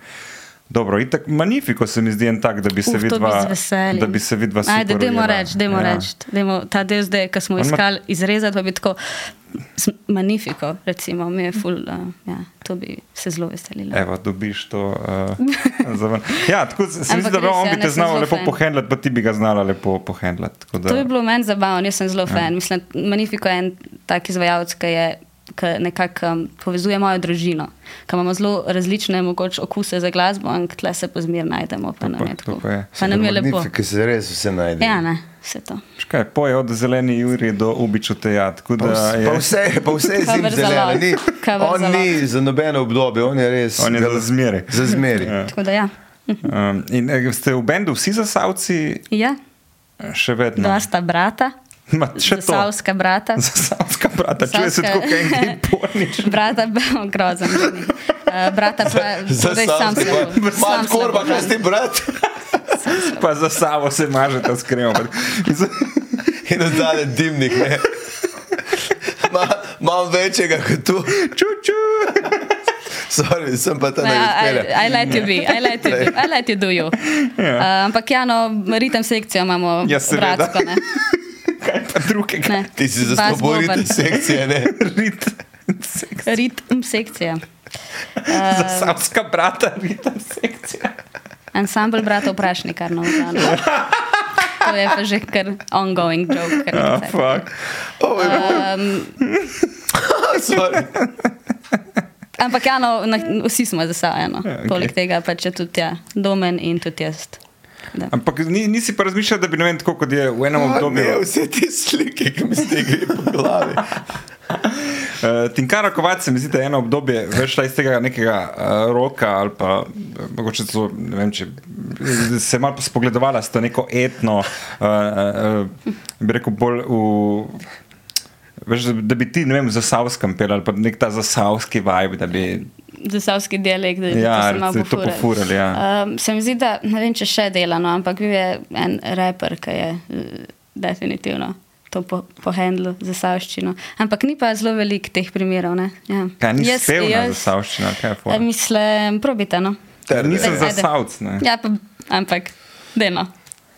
S1: Dobro, itak Magnifico se mi zdi en tak, da bi se
S2: Uf, to bi
S1: vidva,
S2: z veseljem.
S1: da bi se vidva
S2: Ajde,
S1: super
S2: dajmo
S1: ujela.
S2: reči, dajmo
S1: Ja.
S2: reči. Dajmo ta del zdaj, ki smo
S1: On ima-
S2: iskali, izrezati pa bi tako. s- Magnifiko, recimo, mi je ful, uh, ja, to bi se zelo veselila.
S1: Evo, dobiš to. Uh, za ven. ja, tako se- se mi zdi,
S2: Ampak
S1: da bi
S2: res
S1: on bi
S2: je, ne,
S1: te
S2: saj
S1: znal
S2: zelo
S1: lepo
S2: fajn.
S1: pohendlati, pa ti bi ga znala lepo pohendlati. tako da-
S2: To je bilo meni zabavno, jaz sem zelo fan. Mislim, Magnifiko je en tak izvajalec, ki je. Ki nekako um, povezuje mojo družino, ki imamo zelo različne mogoče, okuse za glasbo, ampak tle se pozmerno najdemo.
S1: To
S2: Pa, nam
S1: pa-
S2: je
S1: to
S2: tako.
S1: pa je.
S2: pa nam je lepo.
S3: Ki se res vse najde.
S2: Ja, ne, vse to.
S1: Škaj, poje od zeleni Juri do ubiču tejat.
S3: Pa vse, pa vse, pa vse je zim
S2: Cover za
S3: zeleno.
S2: lot.
S3: Ni,
S2: Cover
S3: on
S2: za
S3: ni za nobeno obdobje, on je res
S1: On je za zmeraj.
S3: Za zmeri.
S1: Ja.
S2: Tako da ja.
S1: Um, in eh, ste v bendu vsi zasavci,
S2: ja.
S1: še vedno?
S2: Dva sta brata,
S1: Ma, še to.
S2: savska brata.
S1: Zasavska brata, čuje se
S2: Zasavska.
S1: tako, kot en pornič.
S2: Brata, grozen. Uh, brata, pa
S3: Torej,
S2: zdaj sam se bo.
S3: Mat korba, kaj ste brat?
S1: Pa za sabo se mažete s kremom. Mislim,
S3: In oddale dimnik, ne. Ma, Imam večjega kot tu,
S1: Ču, ču.
S3: Sorry, sem pa tam nekaj.
S2: I, I let you be, I let you, be, I let you do you. Uh, ampak ja, no, ritem sekcijo imamo
S1: Ja, seveda.
S2: bratsko. Ne?
S1: Kaj pa drugega?
S2: Ne.
S3: Ti si za
S2: Bas
S3: svoborite
S2: Boban.
S3: sekcije, ne.
S1: Rit.
S2: Ritem sekcija.
S1: Zasavska brata, ritem sekcija.
S2: Ansambl bratov vprašni, kar novo. no. To je pa že kar ongoing joke. Kar
S1: Ah,
S2: nekaj.
S1: fuck.
S3: Oh, Sorry.
S2: ampak ja, no, na, vsi smo zasajeni.
S1: Ja,
S2: Okay.
S1: okej.
S2: Poleg tega pa če tudi ja, domen in tudi jaz. Da.
S1: Ampak ni, nisi pa razmišljal, da bi ne vem, tako kot je v enem obdobju.
S3: Ne, vse te slike, ki mi stegajo po glavi.
S1: Uh, Tinkara Kovac, se mi zdi, da je eno obdobje vešla iz tega nekega uh, roka ali pa eh, mogoče celo, ne vem, če eh, se je malo spogledovala s to neko etno, uh, uh, bi rekel, bolj v. Veš, da- da bi ti, ne vem, za savskem pel ali pa nek ta zasavski vibe, da bi
S2: zasavski dialekt, da
S1: Ja,
S2: ja, se malo
S1: recimo, to
S2: pofurali.
S1: pofurali, ja.
S2: Um, se mi zdi, da ne vem, če še dela, no, ampak bil je en raper, ki je eh, definitivno to po- pohendlal po za savščino. Ampak ni pa zelo veliko teh primerov. ne. Ja.
S1: kaj ni
S2: Jaz-
S1: spev na
S2: jaz-
S1: zasavščino, kaj je
S2: eh,
S1: fora.
S2: Mislim, probite. No.
S1: Ker nisem
S2: Ajde.
S1: za savc, ne.
S2: Ja, pa, ampak deno.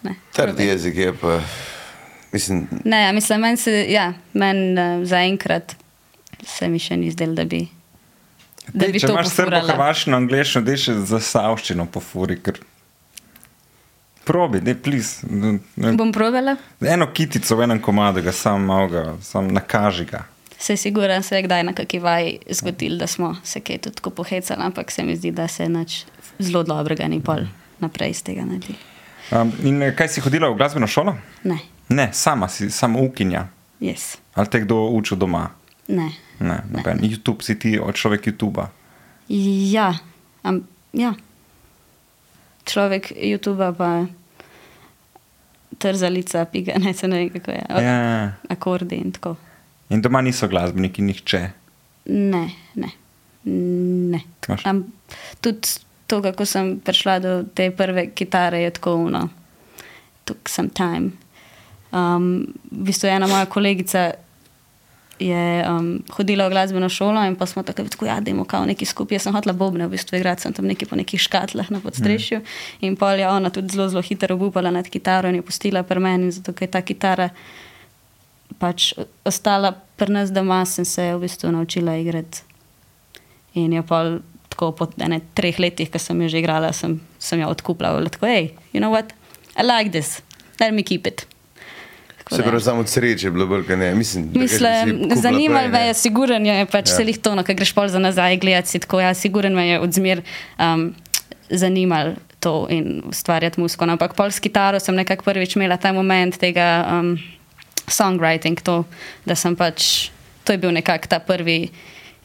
S2: Ne,
S3: Trd
S2: probajte.
S3: jezik je pa. Mislim,
S2: ne ja, mislim, meni se, ja, men, uh, zaenkrat se mi še ni zdelo, da bi. Da bi
S1: Če
S2: to
S1: imaš srbo,
S2: pofurala.
S1: hrvaščino, angliščino, da še za savščino pofuri, ker probi, ne plis.
S2: Bom probala.
S1: Eno kitico v enem komadu, ga sam malo, ga, sam nakaži ga.
S2: Se siguran se je kdaj na kaki vaji zgodil, da smo se kaj tudi tako pohecali, ampak se mi zdi, da se nič zelo dobrega ni pol naprej iz tega naredil.
S1: Um, in eh, kaj si hodila v glasbeno šolo?
S2: Ne,
S1: Ne, sama si, samo ukinja.
S2: jaz, yes.
S1: Ali te kdo učil doma?
S2: ne.
S1: Ne, noben. YouTube si ti od človek YouTuba.
S2: Ja, am, ja. človek YouTube pa trzalica, piga, ne se ne vem kako je.
S1: Ja.
S2: Akordi in tako.
S1: In doma niso glasbeniki, nihče.
S2: Ne, ne. ne.
S1: Imaš?
S2: Am, tudi to, kako sem prišla do te prve kitare, je tako uno. Took some time. Um, v bistvu ena moja kolegica je um, hodila v glasbeno šolo in pa smo takrat tako, ja, da imamo kao neki skupaj. Jaz sem hotla bobne, v bistvu igrati sem tam neki po nekih škatlah na podstrešju mm. in pol je ona tudi zelo, zelo hitro obupala nad kitaro in jo pustila pri meni, zato ker je ta kitara pač ostala pri nas doma, sem se v bistvu naučila igrati. In je pol tako po ene, treh letih, ko sem jo že igrala, sem, sem jo odkupila. Bila Tako, hej, you know what, I like this, let me keep it. Tako
S3: Se
S2: da-
S3: pravi, samo od sreče je bilo, bolj kot ne. Mislim, da kaj si
S2: Mislim,
S3: kupila
S2: zanimalo
S3: prej,
S2: me
S3: ne.
S2: je, siguren je pač
S3: Ja.
S2: ja. celih tono, ki greš pol za nazaj gledati, si tako, ja, siguren me je odzmer um, zanimalo to in ustvarjati muziko. No, Ampak pol s kitaro sem nekako prvič imela ta moment tega um, songwriting, to, da sem pač, to je bil nekako ta prvi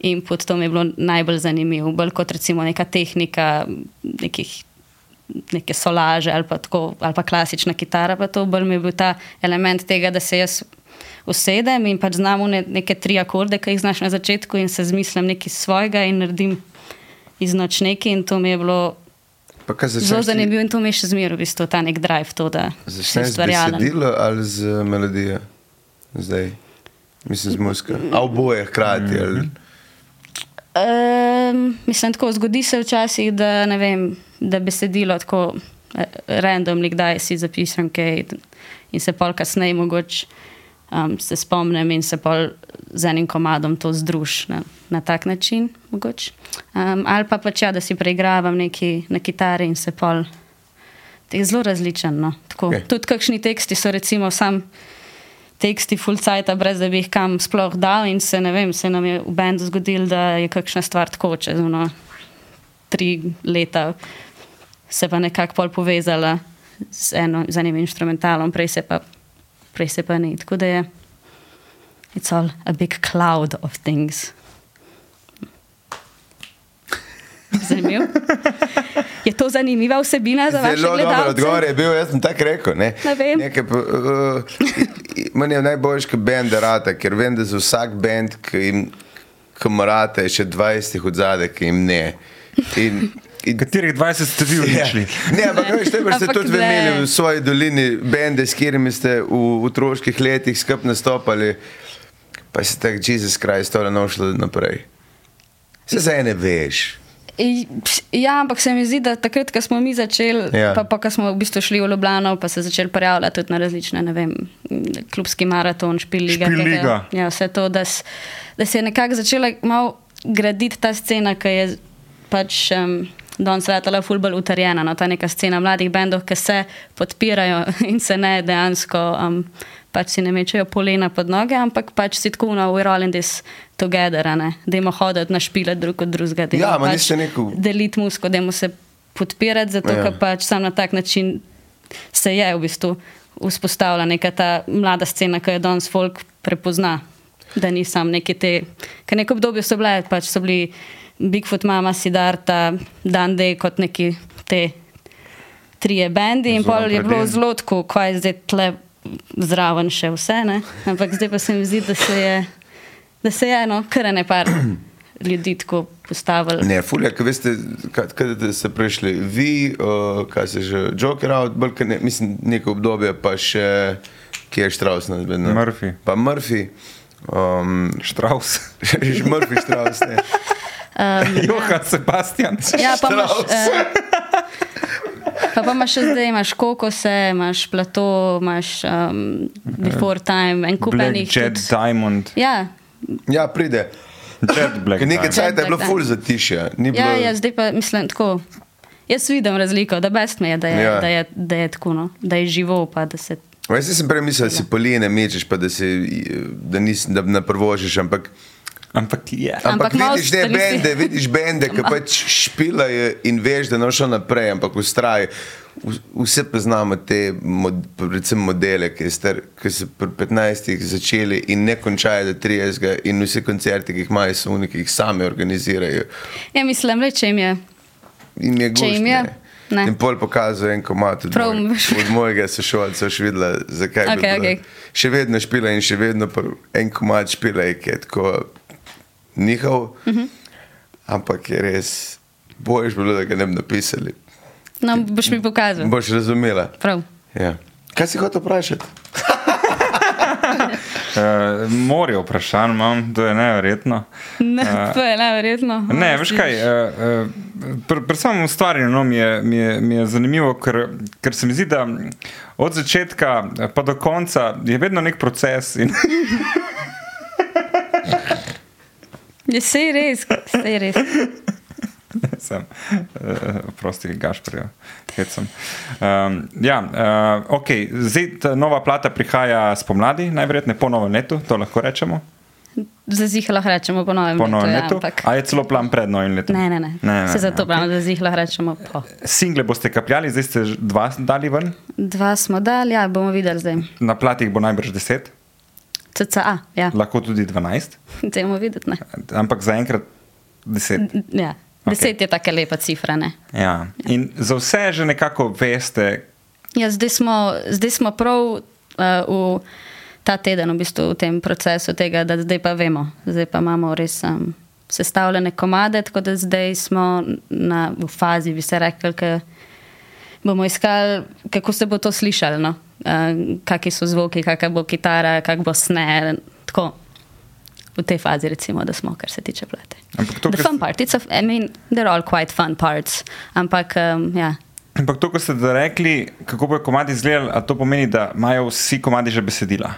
S2: input, to mi je bilo najbolj zanimivo, bolj kot recimo neka tehnika nekih neke solaže ali pa, tako, ali pa klasična kitara, pa to bolj mi je bil ta element tega, da se jaz usedem in pač znam une, neke tri akorde, ki jih znaš na začetku in se zmislim nekaj svojega in naredim iz noč nekaj in to mi je bilo
S3: Pa kaj
S2: zelo
S3: začneš ti?
S2: zanimivo in to mi je še zmeraj v bistvu ta nek drive, to da sem
S3: Začneš z
S2: ustvarjalen.
S3: besedilo ali z melodijo? Zdaj. Mislim, z muziko. A oboje hkrati.
S2: Mhm.
S3: ali-
S2: Um, mislim, tako zgodi se včasih, da, ne vem, da besedilo tako eh, randomly, kdaj si zapišem kaj in se pol kasneje mogoče um, se spomnim in se pol z enim komadom to združ na, na tak način mogoče. Um, ali pa pač ja, da si preigravam neki na kitari in se pol. To je zelo različen. No? Tako.
S3: Ok.
S2: Tudi kakšni teksti so recimo sam teksti full cajta, brez da bi jih kam sploh dal. In se, ne vem, se nam je v bendu zgodilo, da je kakšna stvar tako čez ono, tri leta, se pa nekako pol povezala z, eno, z enim instrumentalom, prej se pa, prej se pa ni. Tako da je. It's all a big cloud of things. Zanimivo. Je to zanimiva vsebina za vaše
S3: Zelo dober
S2: gledalce?
S3: no, odgovor je bil, jaz sem tako rekel. Ne?
S2: Ne vem.
S3: Nekaj, po- uh, meni je najboljši, ki bend rata, ker vem, da za vsak bend, ki jim kamarata, je še 20 od zadaj, ki jim ne. In, in
S1: Katerih 20 ste vi uničili?
S3: Ja. Ne, ampak veš, tebe ste
S2: Ampak ne.
S3: tudi vi imeli v svoji dolini, bende, s katerimi ste v otroških letih skupaj nastopali, pa si tak Jezus Christ, tole nošlo naprej. Se za ene veš.
S2: I- pš, Ja, ampak se mi zdi, da takrat, ko smo mi začeli,
S3: Ja.
S2: ja. pa, pa ko smo v bistvu šli v Ljubljano, pa se začeli prijavljati tudi na različne, ne vem, klubski maraton, špiliga.
S1: Špilliga.
S2: Ja, vse to, da, s, da se je nekako začela malo graditi ta scena, ki je pač um, danes letala fulbol utrjena, no, ta neka scena mladih bendov, ki se podpirajo in se ne dejansko um, pač si ne mečejo polena pod noge, ampak pač si tako na we're all in this together, a ne, da imamo hoditi na špile drug od drugega, da
S3: Ja,
S2: imamo
S3: ma niste neko-
S2: deliti musko, da imamo se podpirati, zato
S3: Ja.
S2: ja. pač sam na tak način se je v bistvu vzpostavila neka ta mlada scena, ki jo danes folk prepozna. Da ni sam neki te, ker neko obdobje so bile, pač so bili Bigfoot, Mama, Sidarta, Dande kot neki te trije bendi in
S3: Zelo
S2: pol je bilo
S3: napredeni.
S2: zelo tako, kaj je zdaj tle zraven še vse, ne? ampak zdaj pa se mi zdi, da se je, da se je eno, kar ne par ljudi tako postavilo.
S3: Ne, fulja, ki veste, kaj ste prešli. Vi, uh, kaj se že, Joker out, bolj kot ne, mislim, neko obdobje, pa še, ki je Štraus na zbedno.
S1: Murphy.
S3: Pa Murphy. Um,
S1: Štraus.
S3: že Murphy Štraus, ne.
S1: Johan Sebastian.
S2: Ja, pa imaš,
S3: Štravs.
S2: eh, pa, pa imaš še zdaj, imaš kokose, imaš plato, imaš um, before time, en kup
S1: Black
S2: enih.
S1: Jet
S2: tudi-
S1: Diamond.
S2: Ja,
S3: Ja, pride.
S1: Jet Black
S3: Ker nekaj
S1: Diamond.
S3: cajta je bilo
S2: Black
S3: ful zatišje. ni
S2: ja,
S3: bilo-
S2: ja, zdaj pa mislim tako. Jaz vidim razliko, da best me je, da je,
S3: Ja.
S2: ja. da je, da je tako, no, da je živo, pa da se.
S3: Veš, jaz sem prej mislil, da si polene mečeš, pa da, si, eh, da, nis, da ne prvožiš, ampak,
S1: Ampak je.
S3: ampak, ampak
S2: Ampak malo
S3: vidiš ne
S2: stvari si-
S3: bende, vidiš bende, ki pač špilajo in veš, da ne bo šel naprej, ampak ustrajajo. V- Vse poznamo te, mod, predvsem modele, ki, je star, ki so pri 15-ih začeli in ne končajo do 30-ih, in vse koncerte, ki jih imajo, so oni, ki jih sami organizirajo.
S2: Ja, mislim, le če jim je.
S3: In je
S2: Če jim je,
S3: gužne.
S2: ne.
S3: In pol pokazal en komat od,
S2: Prav,
S3: moj,
S2: boš-
S3: od mojega sošolca, še videla, zakaj je
S2: Okej,
S3: bilo.
S2: okej.
S3: Še vedno špila in še vedno pr- en komat špila je, ki je tako njihov, uh -huh.
S2: Mhm.
S3: ampak je res, bojiš bilo, da ga ne bi napisali.
S2: No, boš mi pokazal.
S3: Boš razumela.
S2: Prav.
S3: Ja. Kaj si hotel vprašati?
S1: Uh, morje vprašanj imam, to je neverjetno.
S2: Ne, to je neverjetno.
S1: Ne, veš kaj, uh, uh, pri pr samem ustvarjanju no, mi, je, mi, je, mi je zanimivo, ker, ker se mi zdi, da od začetka eh, pa do konca je vedno nek proces. In
S2: Je sej res, sej res.
S1: sem, uh, prosti, Gašprijo, hecam. Um, ja, uh, ok, zdaj ta nova plata prihaja spomladi, najverjetneje po novem letu, to lahko rečemo.
S2: Zazihlah rečemo po novem
S1: Po novem letu.
S2: letu. Ja, ampak...
S1: A je celo plan pred novim letom?
S2: Ne, ne, ne. ne, ne Se zato pravim, okay. zazihlah rečemo po.
S1: Single boste kapljali, zdaj ste že dva dali ven,
S2: Dva smo dali, ja, bomo videli zdaj.
S1: na platih bo najbrž deset,
S2: CCA, ja.
S1: lahko tudi dvanajst,
S2: Dajmo videti, ne.
S1: ampak zaenkrat deset.
S2: Ja.
S1: Okej.
S2: Deset okay. je tako lepa cifra, ne.
S1: Ja. In za vse že nekako veste,
S2: Ja, zdaj, smo, zdaj smo prav uh, v ta teden v, bistvu v tem procesu tega, da zdaj pa vemo, zdaj pa imamo res um, sestavljene komade, tako da zdaj smo na, v fazi, bi se rekli, ki bomo iskali, kako se bo to slišalo, no? uh, kakšni so zvoki, kakšna bo kitara, kak bo sne. Tako. V tej fazi, recimo, da smo, kar se tiče plate.
S1: Ampak to,
S2: The
S1: kar
S2: fun
S1: s-
S2: part, it's a, I mean, they're all quite fun parts. Ampak, um, ja,
S1: Ampak to, ko ste zdaj rekli, kako bojo komadi izgledali, a to pomeni, da imajo vsi komadi že besedila.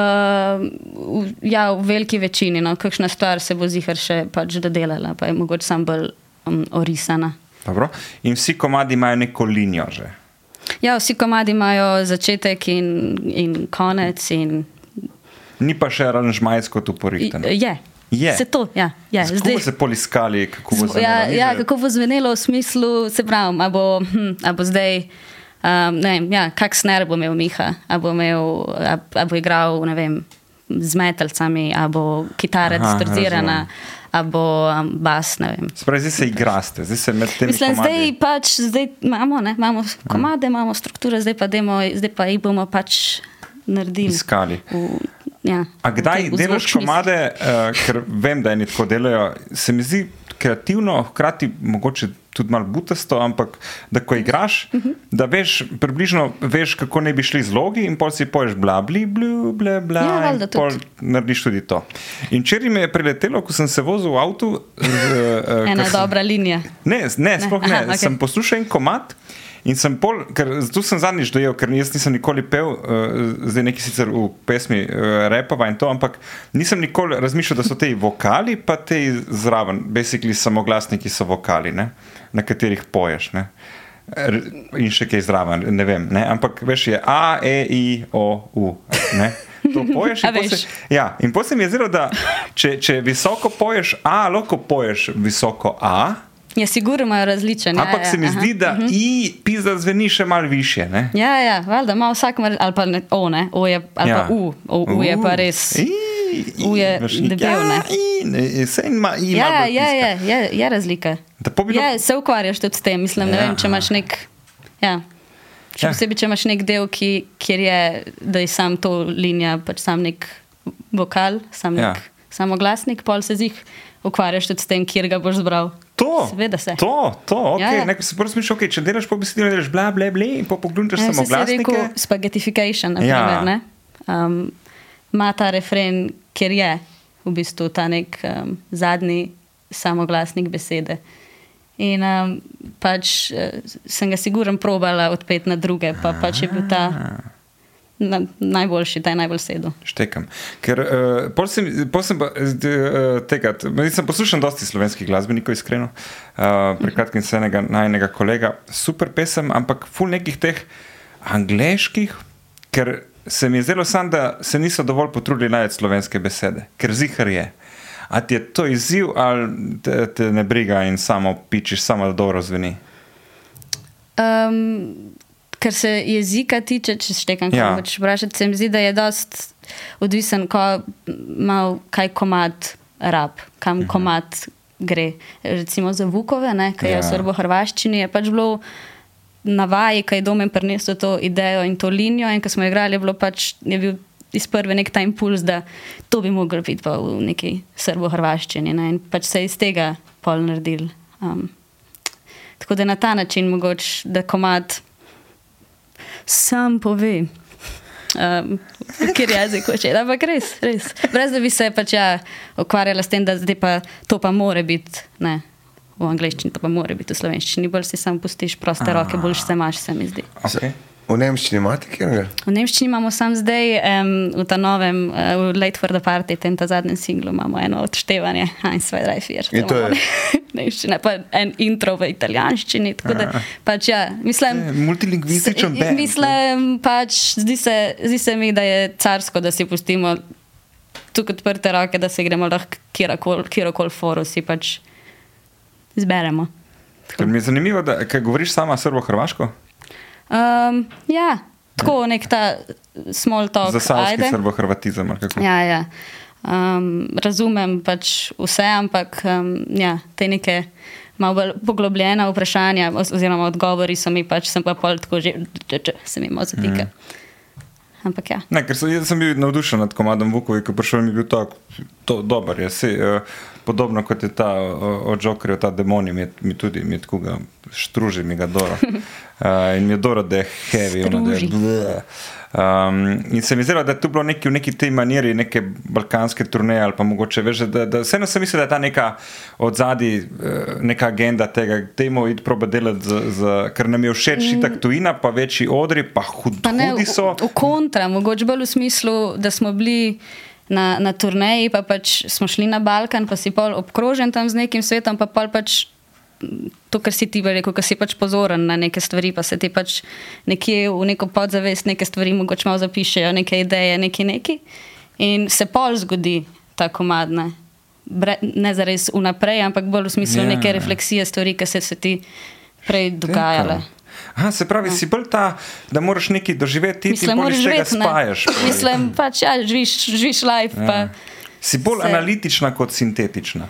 S2: Uh, ja, v veliki večini, no, kakšna stvar se bo zihar še pač dodelala, pa je mogoče sam bolj um, orisana.
S1: Dobro. In vsi komadi imajo neko linijo že.
S2: Ja, vsi komadi imajo začetek in, in konec. In,
S1: Ni pa še aranžmajsko tu
S2: i,
S1: porihtano.
S2: je.
S1: no. Je.
S2: Se to, ja. je.
S1: Kako Zdaj... se poliskali, kako bo
S2: Zvo-
S1: zdaj?
S2: ja, ja, kako bo zvenelo v smislu, se pravi, a bo, hm, a bo zdaj. Um, ne vem, ja, kak sner bo imel Miha, a bo, imel, a, a bo igral ne vem, z metalcami, a bo kitara
S1: Aha,
S2: distorzirana, a bo um, bas. ne vem.
S1: Spravi, zdaj se igraste, zdaj Ja. se med tem.
S2: Mislim, zdaj pač zdaj imamo, ne, imamo komade, imamo strukture, zdaj pa, demo, zdaj pa jih bomo pač naredili.
S1: Iskali.
S2: V, ja,
S1: A
S2: v
S1: kdaj
S2: teh- v
S1: delaš
S2: zvočnih-
S1: komade, uh, ker vem, da eni tako delajo, se mi zdi kreativno, hkrati mogoče tudi malo butasto, ampak da ko igraš,
S2: Mhm.
S1: uh -huh. da veš, približno veš, kako ne bi šli zlogi in pol si poješ bla, bli, blu, ble, bla,
S2: Ja,
S1: in
S2: valjda
S1: pol
S2: tudi.
S1: narediš tudi to. In včeraj me je preletelo, ko sem se vozil v avtu. Uh,
S2: Ena dobra linija.
S1: Ne, s- ne sploh ne. Aha,
S2: Aha,
S1: okay.
S2: okej.
S1: Sem poslušal en komat in sem pol, ker tu sem zadnjič dojel, ker jaz nisem nikoli pel, uh, zdaj neki sicer v pesmi uh, repava in to, ampak nisem nikoli razmišljal, da so te vokali, pa te zraven, basically samoglasniki so vokali, ne? na katerih poješ. Ne? R- In še kaj zraven, ne vem. Ne? Ampak veš, je A, E, I, O, U. Ne? To poješ
S2: A
S1: in pol
S2: veš.
S1: se- Ja, in potem mi je zdelo, da če, če visoko poješ A, lahko poješ visoko A,
S2: Ja, sigurno imajo različne.
S1: Ampak
S2: ja,
S1: se mi
S2: aha.
S1: zdi, da i pizda zveni še malo više. Ne?
S2: Ja, ja, valjda ima vsak, mar, ali pa ne, o, ne, o je, ali ja.
S1: Ja.
S2: pa u, o, u je pa res.
S1: I, i,
S2: U je
S1: veš, i,
S2: debel, ne.
S1: Ja, i, ne, saj ima i malo
S2: Ja,
S1: bolj
S2: ja,
S1: tiska.
S2: ja, je, je razlika.
S1: Da pa bi bilo-
S2: Ja, se ukvarjaš tudi s tem, mislim, ne
S1: Ja.
S2: vem, če imaš nek. Ja. Še
S1: Ja.
S2: posebej, če imaš nek del, ki, kjer je, da je sam to linija, pač sam nek vokal, sam nek
S1: Ja.
S2: ja. samoglasnik, pol se zih ukvarjaš tudi s tem, kjer ga boš zbral.
S1: To,
S2: Seveda se.
S1: To, to, okay. ja,
S2: Ja,
S1: ja.
S2: ja.
S1: Neko se prvo smiš, okay, če delaš po besedilu, delaš bla, bla, bla, in pa poglunčaš
S2: Ja,
S1: samo
S2: saj si rekel
S1: glasnike.
S2: spagetification, na
S1: Ja.
S2: primer. ne. Um, Ima ta refren, kjer je v bistvu ta nek um, zadnji samoglasnik besede. In um, pač eh, sem ga siguren probala odpeti na druge, pa pač je bil ta
S1: Ah.
S2: na, najboljši, ta je najbolj sedel.
S1: Štekam. Ker uh, pol sem, pol sem pa, uh, tega, t- nisem poslušal dosti slovenskih glasbenikov, iskreno. Uh,
S2: Mhm.
S1: Prekratkim sem enega najnega kolega, super pesem, ampak ful nekih teh angliških, ker se mi je zdelo sam, da se niso dovolj potrudili najti slovenske besede, ker zihar je. A ti je to izziv, ali te, te ne briga in samo pičiš, samo da dobro zveni.
S2: Um, kar se jezika tiče, če štekam, kaj
S1: Ja.
S2: hočeš vprašati, se mi zdi, da je dost odvisen, ko mal, kaj komad rab, kam mhm. komad gre. Recimo za Vukove, ne, ki je
S1: Ja.
S2: v srbo-hrvaščini, je pač bilo na vaji, kaj je domen prinesel to idejo in to linijo. In ko smo igrali, je, bilo pač, je bil iz prve nek ta impuls, da to bi moglo biti pa v neki srbo-hrvaščini. Ne? In pač se je iz tega pol naredil. Um, tako da na ta način mogoče, da komat sam pove. Um, ker jezik hoče, ampak res, res. Brez da bi se pač ja, ukvarjala s tem, da zdaj pa to pa more biti. ne, V angleščini to pa more biti, v slovenščini bolj si sam pustiš proste roke, bolj se imaš, se mi zdi.
S1: Okay.
S3: V Nemščini imate kjer?
S2: V Nemščini imamo sam zdaj, um, v ta novem, uh, v Late for the Party, tem ta zadnjem singlu, imamo eno odštevanje, Heinz Weidrajfir.
S3: In to je?
S2: Nemščina, pa en intro v italijanščini. Tako da, pač ja, mislim.
S1: Multilingvističen
S2: s-
S1: band.
S2: Mislim, pač zdi se, zdi se mi, da je carsko, da si pustimo tukaj odprte roke, da se gremo lahko kjerkoli foru, si pač zberemo.
S1: Ker mi je zanimivo, da ker govoriš sama srbo-hrvaško.
S2: Um, ja, tako nek ta small talk.
S1: Za savski
S2: ajde.
S1: srbo-hrvatizem. ali kako?
S2: Ja, ja. Um, razumem pač vse, ampak um, ja, te neke malo bolj poglobljene vprašanja, oz- oziroma odgovori so mi pač, sem pa pol tako že, če, če, se mi malo zatika. Ampak ja.
S1: Ne, ker sem, jaz sem bil navdušen nad komadom Vukovi, ko je prišel mi je bil tako to, dober. Je, se, uh, podobno kot je ta uh, od Jokerja, ta demoni, mi, je- mi tudi mi je tako ga štruži, mi ga dora. Uh, in mi je dora, da je heavy, ono, da je
S2: Struži.
S1: bleh. Um, in se mi zdelo, da je to bilo neki, v neki tej maniri, neke balkanske turneje ali pa mogoče več, da, da vseeno sem mislil, da je ta neka odzadi, eh, neka agenda tega, temo id proba delati, z, z, ker nam je všeč mm. itak tujina, pa večji odri, pa hud,
S2: Pa ne, v,
S1: hudi so.
S2: v kontra, mogoče bolj v smislu, da smo bili na, na turneji, pa pač smo šli na Balkan, pa si pol obkrožen tam z nekim svetom, pa pol pač. m, To, kar si ti rekel, ko si pač pozoren na neke stvari, pa se ti pač nekje v neko podzavest neke stvari mogoče malo zapišejo, neke ideje, neki neki. In se pol zgodi ta komadna. Bre, ne za res vnaprej, ampak bolj v smislu
S1: Ja.
S2: yeah. neke refleksije stvari, ki se, se ti prej dogajale.
S1: Tega. Aha, se pravi, si bolj ta, da moraš nekaj doživeti, ti
S2: Ja. Mislim,
S1: pa
S2: moraš
S1: iz tega
S2: živeti, ne.
S1: spajaš. pol.
S2: Mislim, pač ja, živiš, živiš life, ja. pa
S1: si bolj
S2: se-
S1: se... analitična kot sintetična.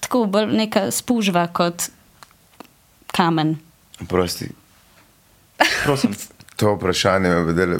S2: tako bolj neka spužva kot kamen.
S3: Prosti,
S1: Prosim,
S3: to vprašanje me vedele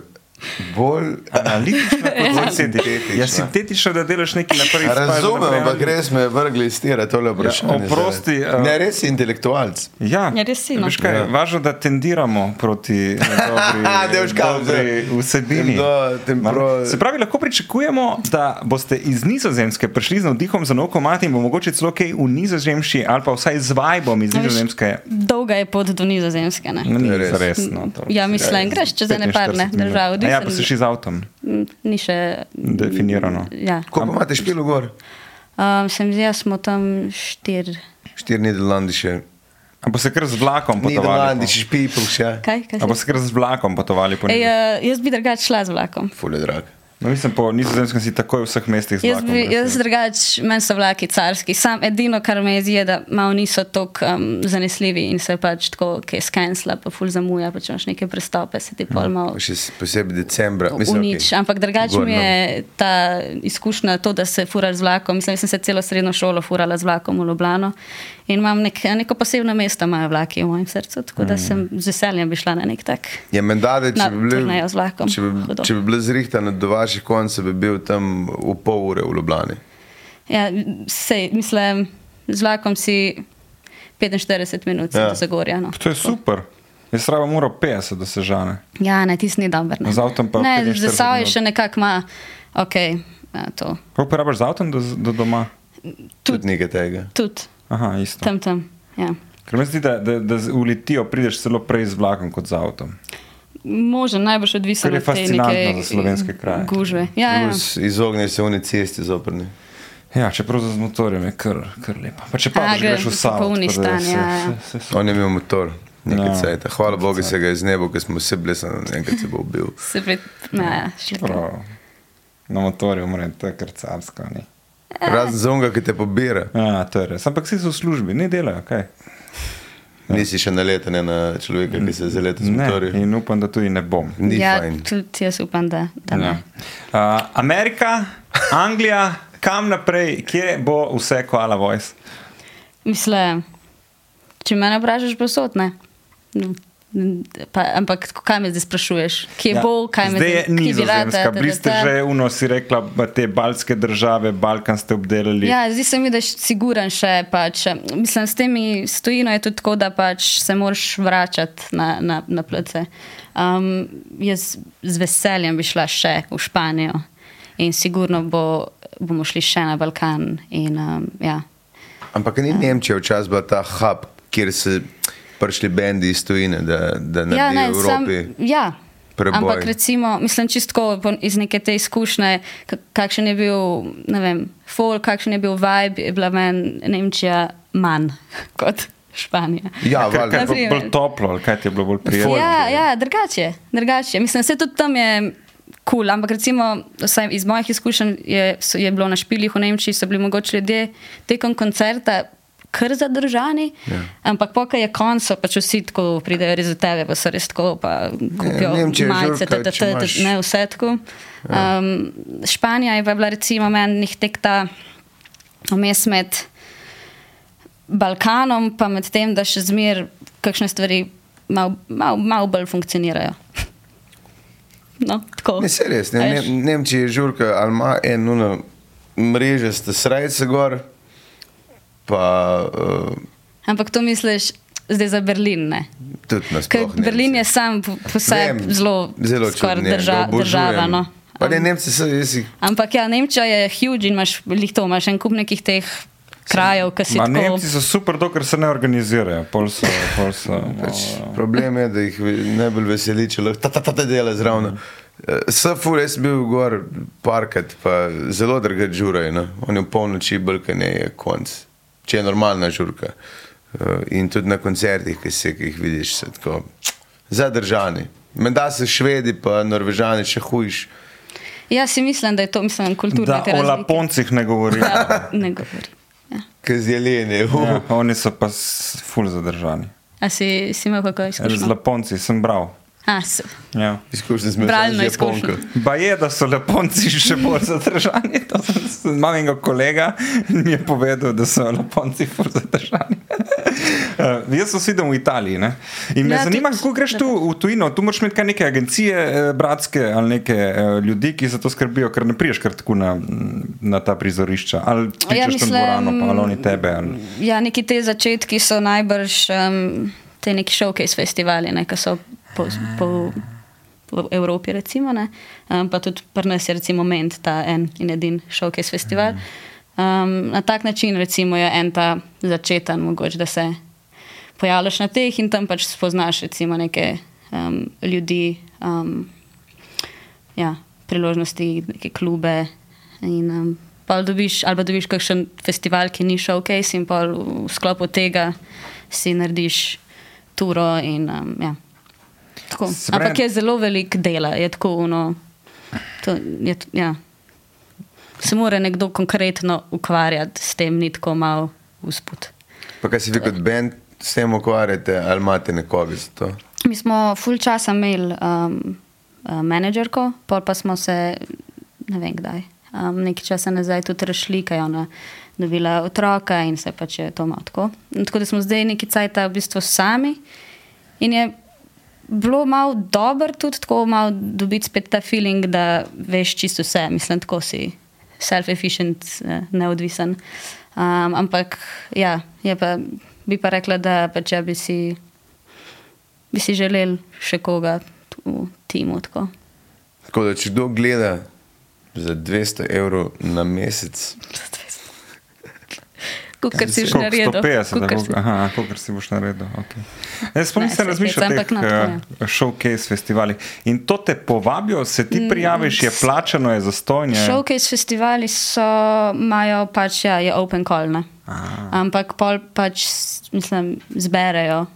S3: bolj.
S1: analitična kot sintetična.
S3: Sintetična.
S1: Ja, sintetično, da delaš nekaj na prvi stvari.
S3: Razumem, ampak res me je vrgli iz tira tole vprašanje.
S1: oprosti,
S3: zdaj.
S1: eh.
S3: Ne, res si intelektualc.
S1: Ja,
S2: Ja, res si, no.
S1: Veš kaj,
S3: Ja.
S1: važno, da tendiramo proti eh,
S3: Aha, da
S1: dobri,
S3: veš, kam
S1: dobri
S3: zdaj.
S1: vsebini.
S3: Temdo- tempro-
S1: Se pravi, lahko pričakujemo, da boste iz Nizozemske prišli z navdihom za nov komat in bo mogoče celo kaj v Nizozemšči ali pa vsaj z vibom iz
S2: A Ja, veš,
S1: Nizozemske.
S2: Dolga je pot do nizozemske. Ne?
S1: No, Ni
S3: res.
S1: res. resno, to.
S2: Ja, mislim, greš čez ene parne
S1: 45 minut.
S2: države.
S1: A Ja, pa si še z avtom,
S2: Mm, Ni še.
S1: definirano.
S2: Ja.
S3: Koliko imate špilo gor?
S2: Um, sem zdaj, smo tam štiri.
S3: Štiri Nederlandi še.
S1: Ampak se kar z vlakom potovali.
S3: Nederlandi,
S1: po-
S3: še špipl še.
S2: Kaj, kaj
S1: A
S2: si?
S1: boste kar z vlakom potovali po
S2: Ej,
S1: Nizozemskem?
S2: eh, jaz bi drugače šla z vlakom.
S3: Fule drag.
S1: No, mislim, po Nizozemskem si takoj v vseh mestih z
S2: Jaz,
S1: vlakom.
S2: bi, jaz
S1: brez-
S2: drugač, meni so vlaki carski. Sam edino, kar me jezi, je, da malo niso tako um, zanesljivi in se pač tako, ki je skensla, pa ful zamuja, pa če imaš neke prestope, se ti
S1: Ja.
S2: pol malo
S3: Še s- posebej decembra. Mislim,
S2: unič.
S3: okej.
S2: Ampak drugače
S3: Gor,
S2: mi je ta izkušnja, to, da se furaš z vlakom. Mislim, jaz sem se celo srednjo šolo furala z vlakom v Ljubljano in imam nek, neko posebno mesto, imajo vlaki v mojem srcu, tako
S1: Mm.
S2: da sem z veseljem bi šla na nek tak.
S3: Ja, menda, da, če,
S2: Na
S3: bi bili,
S2: turnejo z vlakom.
S3: če, bi,
S2: Hudo.
S3: če bi bili zrihtani do vaših koncev, bi bil tam v pol ure v Ljubljani.
S2: Ja, sej, mislim, z vlakom si 45 minut
S3: Ja.
S2: ja. zagorjeno.
S1: To je super. Jaz rabim uro 50, da se žane.
S2: Ja, ne, tisti ni dober. ne.
S1: Z avtom pa
S2: Ne,
S1: 45
S2: za sabo je
S1: minut.
S2: še nekako ima, ok, ja, to.
S1: Kako porabiš z avtom do, do doma?
S2: Tudi-
S3: Tudi nekaj tega.
S2: Tudi
S1: Aha, isto.
S2: tam, tam. Ja.
S1: Ker mislim, da, da, da z- uletijo, prideš celo prej z vlakom kot z avtom.
S2: Možno najbolj odvisno
S1: Kar je
S2: od te
S1: fascinantno
S2: neke
S1: za slovenske kraje.
S2: Gužve. Ja, ja.
S3: Plus izogneš se oni cesti zoprni.
S1: Ja, čeprav z motorjem je kar, kar lepa. Pa če
S2: A,
S1: pa
S2: gre-
S1: greš v Savo,
S2: popolni
S1: tako da
S2: stan,
S1: se-
S2: ja, ja.
S1: se- se- se-
S3: On je imel motor, nekaj
S1: Ja.
S3: ja. cajt. Hvala Bogu, se ga je z nebo, ker smo vsi blesani, enkrat se bo ubil.
S2: Se pred, ja, ja, še kaj.
S1: Prav. Na motorju umre, to je kar carsko. Ni.
S2: Eh.
S3: Razen za unga, ki te pobira.
S1: Ja, to je res. Ampak vsi so v službi, ne delajo, kaj.
S3: Nisi še naleten ne, na človeka, ki se zaleta z
S1: Ne,
S3: motorjem.
S1: in upam, da tudi ne bom.
S3: Ni
S2: ja,
S3: fajn.
S2: tudi jaz upam, da, da
S1: Ja.
S2: ne.
S1: Uh, Amerika, Anglija, kam naprej, kje bo vse koala voice?
S2: Mislim, če me ne vprašaš, posod ne. No, Pa, ampak tako, kaj me zdaj sprašuješ? Kje ja. bo, kaj me
S1: zdaj je
S2: kje bi rada,
S1: nizozemska,
S2: da-
S1: bili
S2: da-
S1: ste
S2: da.
S1: že uno, si rekla, ba, te baltske države, Balkan ste obdelali.
S2: Ja, zdi se mi, da je siguren še. Pač, mislim, s temi stojino je tudi tako, da pač se moraš vračati na, na, na plece. Um, jaz z veseljem bi šla še v Španijo in sigurno bo, bomo šli še na Balkan. In, um, ja.
S3: Ampak ni Nemčija včasih bila ta hub, kjer so prišli bendi iz tujine, da, da ne
S2: ja,
S3: bi v
S2: sam-
S3: Evropi.
S2: ja.
S3: preboj.
S2: Ampak recimo, mislim čistko iz neke te izkušnje, k- kakšen je bil, ne vem, folk, kakšen je bil vibe, je bila meni Nemčija manj kot Španija.
S3: Ja,
S1: Ker- ker
S3: valjda.
S1: je bilo
S2: Naprimer.
S1: bolj toplo, ali kaj ti je bilo bolj prijetno?
S2: Ja, ja drugače, drugače. Mislim, vse tudi tam je kul, cool, ampak recimo vsaj iz mojih izkušenj je, so- je bilo na špilih v Nemčiji, so bili mogoče ljudje tekom koncerta. Kar zadržani, ja. ampak pokaj je konc, so pač vsi tako pridejo res do tebe, pa so res tako, pa kupijo
S3: Ja, Nemčija je
S2: majice,
S3: žurka,
S2: da
S3: če
S2: te
S3: imaš- Ja.
S2: ne vse tako. Um, Španija je pa bila recimo meni nek tek ta vmes med Balkanom, pa med tem, da še zmeraj kakšne stvari malo mal, mal bolj funkcionirajo. No, tako.
S3: Ne, se res, ne, ne,
S2: Veš?
S3: Nemčija je žurka, ali ima eno mrežo, ste srajce gor, pa uh,
S2: Ampak to misliš zdaj za Berlin, ne?
S3: tudi nas.
S2: Ker Berlin je sam po, po sebi zelo,
S3: zelo
S2: skoraj
S3: čudno,
S2: drža,
S3: ga obožujem.
S2: država. No.
S3: Pa ne,
S2: Am-
S3: Nemci so, jaz jih
S2: Ampak ja, Nemčija je huge in imaš lih to, imaš en kup nekih teh krajev, ki si
S1: Ma,
S2: tako.
S1: Nemci so super, dokler se ne organizirajo. Pol so, pol so,
S3: Pač, problem je, da jih ve- najbolj veseli, če lahko ta, ta, ta, ta dela zraven. Eh, Safur, jaz sem bil gor parkrat, pa zelo drga žuraj. No? On je v polnoči brkanje je konc, če je normalna žurka. Eh, In tudi na koncertih, ki se ki jih vidiš, so tako zadržani. Menda so švedi, pa norvežani še hujši.
S2: Ja, si mislim, da je to mislim, kulturno.
S1: Da o Laponcih ne govorimo.
S2: Ja, ne govori. Ja.
S3: Kaj z jeleni.
S1: Ja, oni so pa s- ful zadržani.
S2: A si, si imel kako
S1: Z
S2: izkušnjo?
S1: Laponci sem bral.
S2: A, super.
S1: Ja.
S3: Izkušnje smo imeli
S2: Bralno
S3: z
S2: izkušnjo.
S3: Japonko.
S1: Ba je, da so Laponci še bolj zadržani. To sem- sem- Imam enega kolega, ki mi je povedal, da so Laponci bolj zadržani. Uh, jaz sem sedel v Italiji ne? in me ja,
S2: Ja,
S1: zanima,
S2: tudi-
S1: kako greš tu v tujino. Tu moraš imeti kaj neke agencije, eh, bratske ali neke eh, ljudi, ki za to skrbijo, ker ne priješ kar tako na, na ta prizorišča. Ali ti češ tam
S2: mislim,
S1: dvorano, pa ali oni tebe. Ali...
S2: Ja, neki te začetki so najbrž um, te neki showcase festivali, ne, ki so po, po, po Evropi, recimo, ne, um, pa tudi pri nas je recimo Ment, ta en in edin showcase festival. Um, na tak način recimo, je en ta začeten, mogoče, da se pojavljaš na teh in tam pač spoznaš recimo, neke um, ljudi. Um, ja, priložnosti, neke klube. In, um, pol dobiš, ali pa dobiš kakšen festival, ki ni showcase, in pol v sklopu tega si narediš turo. In, um, ja. Tako.
S1: Se pravi-
S2: Ampak je zelo velik dela, je tako uno. To, je, t- ja. Se mora nekdo konkretno ukvarjati s tem, ni tako mal usput.
S3: Pa kaj si vi kot bend s tem ukvarjate, ali imate nekoga za to?
S2: Mi smo full časa imeli um, uh, menedžerko, pol pa smo se, ne vem kdaj, um, nekaj časa nazaj tudi rešili, kaj je ona dobila otroka in se pač je to malo tako. In Tako da smo zdaj neki cajt v bistvu sami in je bilo malo dobro tudi tako, malo dobiti spet ta feeling, da veš čisto vse, mislim, tako si self-efficient, eh, neodvisen. Um, ampak ja, je pa, bi pa rekla, da pa če bi si bi si želeli še koga tu v timu. Tako.
S3: Tako da, če kdo gleda za 200 evrov na mesec,
S2: Kukar si že
S1: Koliko?
S2: naredil.
S1: 150,
S2: kakor
S1: tako,
S2: si-
S1: aha, kakor si boš naredil. Okay. Jaz spomnim,
S2: Ne,
S1: da
S2: se
S1: razmišljaš o
S2: hecam,
S1: teh
S2: ampak no, tako
S1: eh, showcase festivalih. In to te povabijo, se ti prijaviš, je plačano, je zastojnje.
S2: Mm. Showcase festivali so, imajo pač, ja, je open call. Ne? Ampak pol pač, s- mislim, zberejo.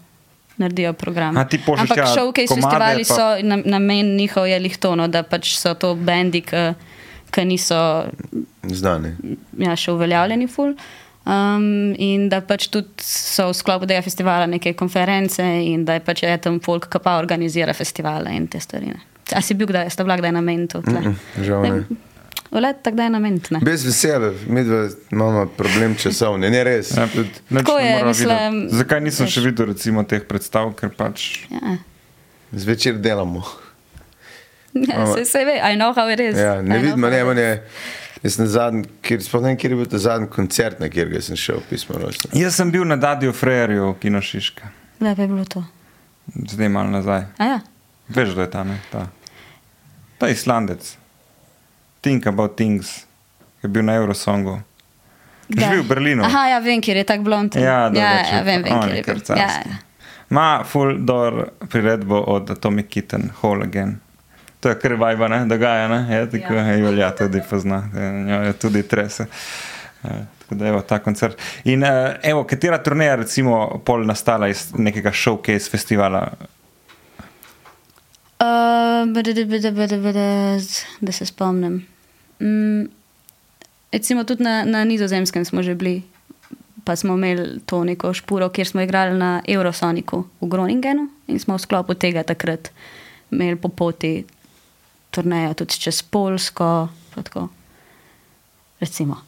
S2: Naredijo program.
S1: A, ti pošlješ
S2: Ampak
S1: tja
S2: showcase
S1: komade,
S2: festivali
S1: pa-
S2: so na, namen njihov je lihtono, da pač so to bendi, ki- ki niso
S3: znani.
S2: ja, še uveljavljeni ful. Um, in da pač tudi so v sklopu tega festivala neke konference in da je pač je tam folk, ki pa organizira festivale in te stvari. ne. A si bil kdaj, sta bila kdaj na mentu?
S3: Mm, mm, žal ne.
S2: Vle, takdaj je na mentu.
S3: Brez veselja, mi dva imamo problem časovni, ne res.
S1: Ja,
S3: Tudi,
S1: nič
S2: Tako
S1: ne
S2: je,
S1: morava
S2: mislim,
S1: videti. Zakaj nisem
S2: veš.
S1: še videl recimo, teh predstav, ker pač
S2: Ja.
S3: Zvečer delamo.
S2: Ja, se, se ve, I know how it is.
S3: Ja,
S2: I
S3: ne
S2: know
S3: vidim,
S2: how
S3: ne,
S2: it
S3: meni
S2: is.
S3: je. Jaz sem zadnji, kjer sploh ne vem, kjer je bil ta zadnji koncert, na katerega sem šel, pismo rojstva.
S1: Jaz sem bil na Dadiju Frejerju, Kino Šiška,
S2: Kdaj pa je bilo to?
S1: zdaj malo nazaj.
S2: A ja.
S1: Veš, da je tam, ne? ta, ta Islandec. Think about things, ki je bil na Eurosongu.
S2: Kdaj?
S1: Živi v Berlinu.
S2: Aha, ja, vem, kjer je tak blond.
S1: Ja, da,
S2: ja,
S1: da,
S2: ja, vem, vem, kjer je bil.
S1: bil.
S2: Ja, ja.
S1: Ma full door priredbo od Atomic Kitten, Hall Again. To je kar vajba, ne, dogaja, ne, je tako, ja.
S2: Ja.
S1: Julija tudi pozna, njo je tudi trese. Eh, Tako da je ta koncert. In eh, evo, katera turneja recimo pol nastala iz nekega showcase festivala?
S2: Uh, bede, bede, bede, bede, z- da se spomnim. Mm, recimo tudi na, na nizozemskem smo že bili, pa smo imeli to neko špuro, kjer smo igrali na Eurosoniku v Groningenu in smo v sklopu tega takrat imeli po poti turnejo tudi čez Polsko. pa tako. Recimo.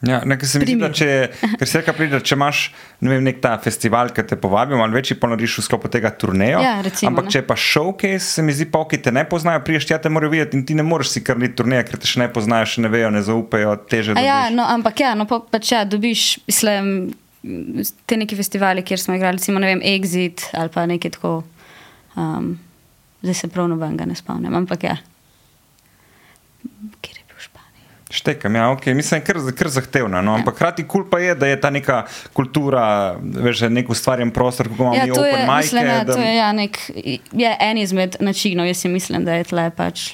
S1: Ja, nekaj se mi zdi, da
S2: Primer.
S1: če, je- ker si rekel, pride, če imaš ne vem, nek ta festival, ki te povabi, malo večji ponoriš v sklopu tega turneja.
S2: Ja, recimo,
S1: ampak
S2: ne.
S1: če je pa showcase, se mi zdi, pa ki te ne poznajo, priješ tja te morajo videti in ti ne moreš si krniti turneja, ker te še ne poznajo, še ne vejo, ne zaupajo, teže.
S2: A Ja,
S1: dobiš.
S2: no, ampak ja, no, pa, pač ja, dobiš mislim, te neki festivali, kjer smo igrali, recimo, ne vem, Exit ali pa nekaj tako. Um, zdaj se prav nobenega ne spomnim, ampak ja. Kjer je bil v Španiji?
S1: Štekam, ja, ok, mislim, kar, kar zahtevna, no, ampak hkrati kul pa je, da je ta neka kultura, veš, da je nek ustvarjen prostor, kako imamo
S2: Ja,
S1: mi
S2: to
S1: open
S2: je,
S1: majke.
S2: mislim, ja,
S1: da,
S2: to je ja, nek, je en izmed načinov, jaz si mislim, da je tle pač.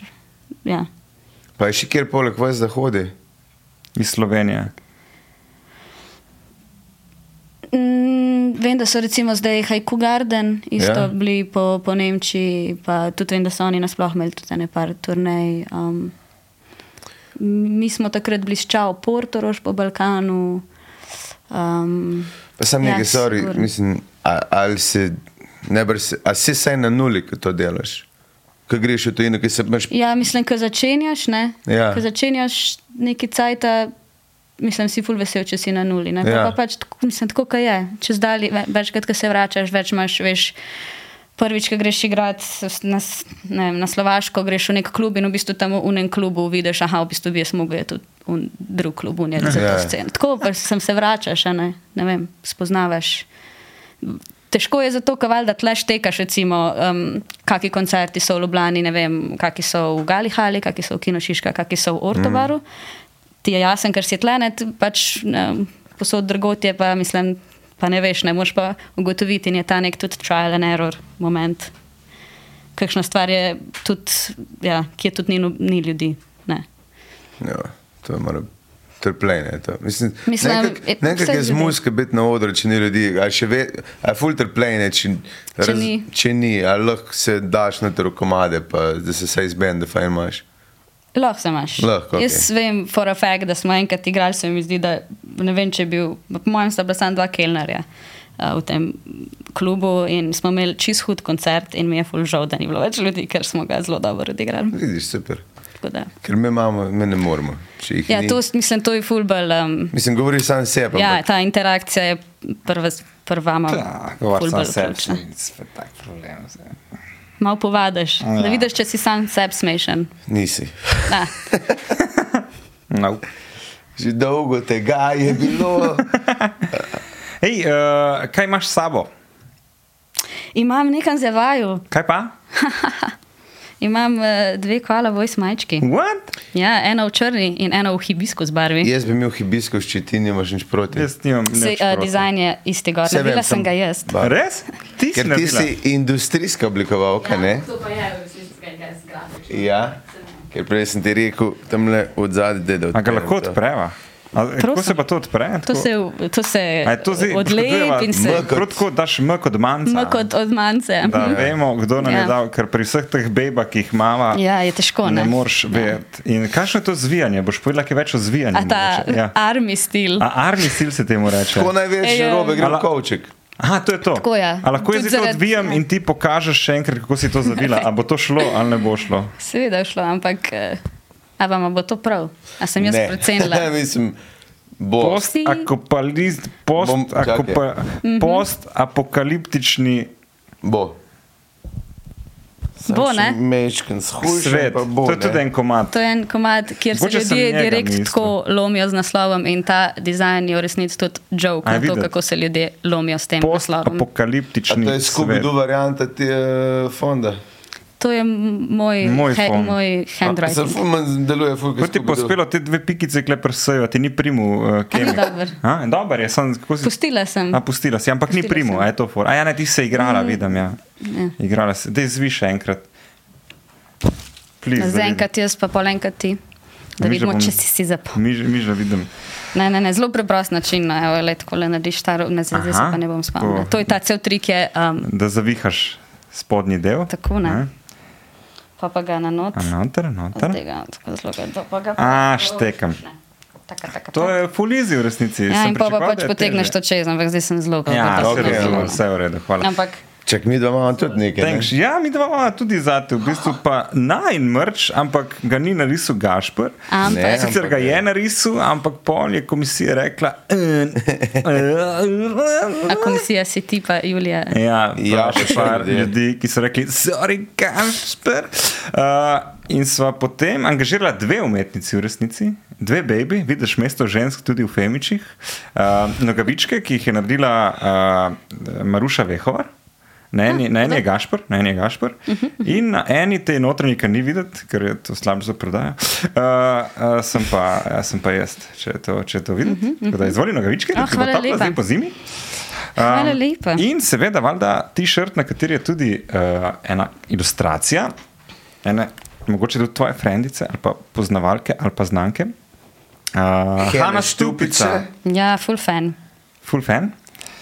S2: Ja.
S3: Pa je še kjer poleg vas zahodi.
S1: Iz Slovenije.
S2: Mm, vem, da so recimo zdaj Haiku Garden, isto
S3: Ja.
S2: yeah. bili po, po Nemčiji, pa tudi vem, da so oni nasploh imeli tudi nekaj turnej. Um, mi smo takrat bili s Čao Portorož po Balkanu. Um,
S3: Pa sam nekaj,
S2: Ja,
S3: sorry,
S2: sigurno.
S3: mislim, a, ali se, najbrž, se- a si saj na nuli, ko to delaš. Ko greš v tujino, ki se imaš.
S2: ja, mislim, ko začenjaš, ne?
S3: Ja.
S2: Ko začenjaš neki cajt, mislim, si ful vesel, če si na nuli. Ne?
S3: Ja.
S2: Ja. Pa pač, tako- mislim, tako kot je. Čez dalje, ve- večkrat, ko se vračaš, več imaš, veš. Prvič, ko greš igrat s- na, s- ne vem, na Slovaško, greš v nek klub in v bistvu tam v unem klubu vidiš, aha, v bistvu bi jaz mogel iti v un- drug klub, unije za
S3: Ja.
S2: to sceno. Tako pa sem se vračaš, a ne, ne vem, spoznavaš. Težko je zato, ker valjda tleš tekaš, recimo, um, kakšni koncerti so v Ljubljani, ne vem, kakšni so v Galihali, kakšni so v Kinošiška, kakšni so v Ortovaru. Mm. Ti je jasen, ker si tlenet, pač um, posod drugot je pa, mislim, pa ne veš, ne moreš pa ugotoviti in je ta nek tudi trial and error moment. Kakšna stvar je tudi, ja, kje tudi ni, no- ni ljudi. Ne.
S3: Ja, to je malo trpljenje. to. Mislim,
S2: Mislim, je-
S3: nekaj
S2: vseh
S3: je z
S2: ljudi.
S3: muzike biti na odru, če ni ljudi, a še ve, a je ful trpljenje, če,
S2: Če ni.
S3: če ni, a lahko se daš na te rokomade, pa da se saj izbende, fajn imaš.
S2: Lahko se imaš.
S3: Lahko, okej.
S2: Jaz vem, for a fact, da smo enkrat igrali, se mi zdi, da ne vem, če je bil, po mojem, sta bila samo dva kelnerja a, v tem klubu in smo imeli čist hud koncert in mi je ful žal, da ni bilo več ljudi, ker smo ga zelo dobro odigrali.
S3: Vidiš, super.
S2: Tako da,
S3: Ker mi imamo, mi ne moremo. če jih
S2: Ja,
S3: ni.
S2: to, s- mislim, to je fulbal. Um,
S3: Mislim, govoriš sam sebi.
S2: ja,
S3: ampak-
S2: ta interakcija je prva, prva malo.
S1: Govoril sem se, spet tak problem. zdaj.
S2: Mal povadaš, ja. da
S1: Ja.
S2: vidiš, če si sam sebi smešen.
S3: Nisi.
S2: Da.
S1: No.
S3: Že dolgo tega je bilo.
S1: Hej, uh, kaj imaš s sabo?
S2: Imam nekam zavaju,
S1: Kaj pa?
S2: imam eh, dve koala vojs majčki.
S1: What?
S2: Ja, ena v črni in ena v hibiskus barvi.
S3: Jaz bi imel hibisko ščiti, nimaš nič proti.
S1: Jaz nimam
S2: Se,
S1: nič.
S2: uh,
S1: proti.
S2: dizajn je isti gor,
S3: Saj vem,
S2: naredila sem
S3: sem-
S2: ga jaz.
S1: Ja,
S3: Ba-
S1: Res? Ti si
S3: Ker ti
S1: naredila?
S3: si industrijska oblikovalka, ja. ne?
S4: To pa je v resnici, kaj jaz zgrabiš.
S3: Ja. Ker prej sem ti rekel, tam le od zadaj, da
S1: A ga lahko
S3: odpreš.
S1: odpreva? A, eh, Kako
S2: Prosim.
S1: se pa to odpre?
S2: To
S1: Tako-
S2: se, v- to se
S1: A je to zdaj poškodujeva
S2: odlepi in se
S3: M kot-
S1: Prav tako daš M kot manjka.
S2: ima kot od mance.
S1: Da vemo, kdo nam je
S2: Ja.
S1: dal, ker pri vseh teh bebah, ki jih imamo,
S2: Ja, je težko.
S1: ne
S2: Ne, Ja.
S1: moreš vedeti. In kakšno je to zvijanje? Boš povedala, kaj je več o zvijanju.
S2: A ta
S1: mogoče? ja.
S2: armi stil.
S1: A armi sil se temu reče.
S3: Tako največ
S2: Ej, ja.
S3: robe gre v
S1: Ala-
S3: kovček.
S1: Aha, to je to.
S2: Tako, ja.
S1: A lahko jaz zdaj
S2: Tudi
S1: to
S2: zaradi-
S1: odvijam in ti pokažeš še enkrat, kako si to zavila. A bo to šlo ali ne bo šlo?
S2: Seveda je šlo, ampak eh, a vam bo to prav? A sem jaz
S3: Ne.
S2: precenila?
S3: Mislim, bo.
S1: Post, akopalist, post,
S2: Mhm.
S3: Bom- čakaj.
S1: akopa, post apokaliptični
S3: Bo.
S2: Bo, ne?
S3: Mečken,
S1: Svet,
S3: svet. Bo,
S1: to je tudi en komad.
S2: To je en komad, kjer se
S1: Mogoče sem
S2: ljudje
S1: njega
S2: direkt
S1: mislil.
S2: tako lomijo z naslovom in ta dizajn je v resnici tudi joke
S1: A,
S2: na to,
S1: videti.
S2: kako se ljudje lomijo s tem naslovom.
S3: A
S1: Post-apokaliptični.
S3: to je
S1: svet.
S3: Scooby-Doo varianta te uh, fonda.
S2: To je m- moj,
S1: Moj
S2: he,
S1: fon.
S2: moj handwriting.
S3: Zelo manj deluje, fulg.
S1: Kot ti je pospelo te dve pikice, klepr sejo, ti ni primu, uh,
S2: A
S1: kemi.
S2: ni dobro?
S1: A, dober je, sem kako si.
S2: Pustila sem.
S1: A, pustila si, ampak ni
S2: Pustila
S1: primu,
S2: sem.
S1: a je to for. A ja, ne, ti si se igrala, mm. vidim, ja.
S2: Ja.
S1: Igrala si, da izviše enkrat.
S2: No,
S1: Please, da
S2: Zaenkrat jaz, pa polenkrat ti. Da
S1: Mi že
S2: vidimo,
S1: bom-
S2: če si si zapomnil.
S1: vidim. Mi, že- mi že vidim.
S2: Ne, ne, ne, zelo preprost način, no, evo, le tako le narediš ta rob, ne zdaj zdaj se
S1: Aha,
S2: pa ne bom spomnil.
S1: tako.
S2: To je ta cel trik, je, um,
S1: Da zavihaš spodnji del.
S2: Tako, ne.
S1: Ne?
S2: pa, pa ga na not.
S1: A noter, noter.
S2: Zdaj ga tako zelo ga- pa ga-
S1: A, štekam.
S2: Taka, taka,
S1: To
S2: taka.
S1: je fulizi v resnici.
S2: Ja,
S1: Sem
S2: in pa, pa
S1: pričakoval, da
S2: pač
S1: je
S2: potegneš to
S1: težje.
S2: čez, ampak zdaj sem zelo
S1: Ja,
S2: zelo
S1: se
S3: dobro,
S1: razumem,
S2: zelo-
S1: vse je v redu, hvala.
S2: Ampak
S3: Čak, mi dva imamo tudi nekaj. Ne?
S1: Thanks. Ja, mi dva imamo tudi zate, v bistvu pa najn mrč, ampak ga ni narisal Gašpr.
S2: Ampak-
S3: Ne,
S1: Sicer ga
S3: ampak-
S1: je narisal, ampak pol je komisija rekla. "Eh,
S2: a
S1: eh,
S2: komisija si ti, pa Julija.
S1: eh." Ja,
S3: Ja,
S1: ja še
S3: še
S1: par
S3: ljudje.
S1: ljudi, ki so rekli, sorry, Gašpr. Uh, in sva potem angažirala dve umetnici v resnici, dve baby, vidiš mesto žensk tudi v Femičih, uh, nogavičke, ki jih je naredila uh, Maruša Vehovar. Na
S2: Ah,
S1: eni, na eni je Gašpor, na eni je Gašpor.
S2: Mhm.
S1: In na eni te notranjika ni videti, ker je to slabše za prodajo. Uh, uh, sem, pa, uh, sem pa jaz, če je to, če je to videti. Tako da izvoli nogavičke,
S2: Oh,
S1: da ti bo
S2: Mhm, hvala
S1: toplo
S2: lepa.
S1: zdaj po zimi.
S2: Hvala
S1: Um,
S2: lepa.
S1: In seveda, valjda t-shirt, na kateri je tudi uh, ena ilustracija, ene, mogoče tudi tvoje frendice ali pa poznavalke ali pa znanke. Uh,
S3: Hene
S1: Hanna
S3: Štupice.
S1: Štupica,
S2: Ja, full fan.
S1: full fan.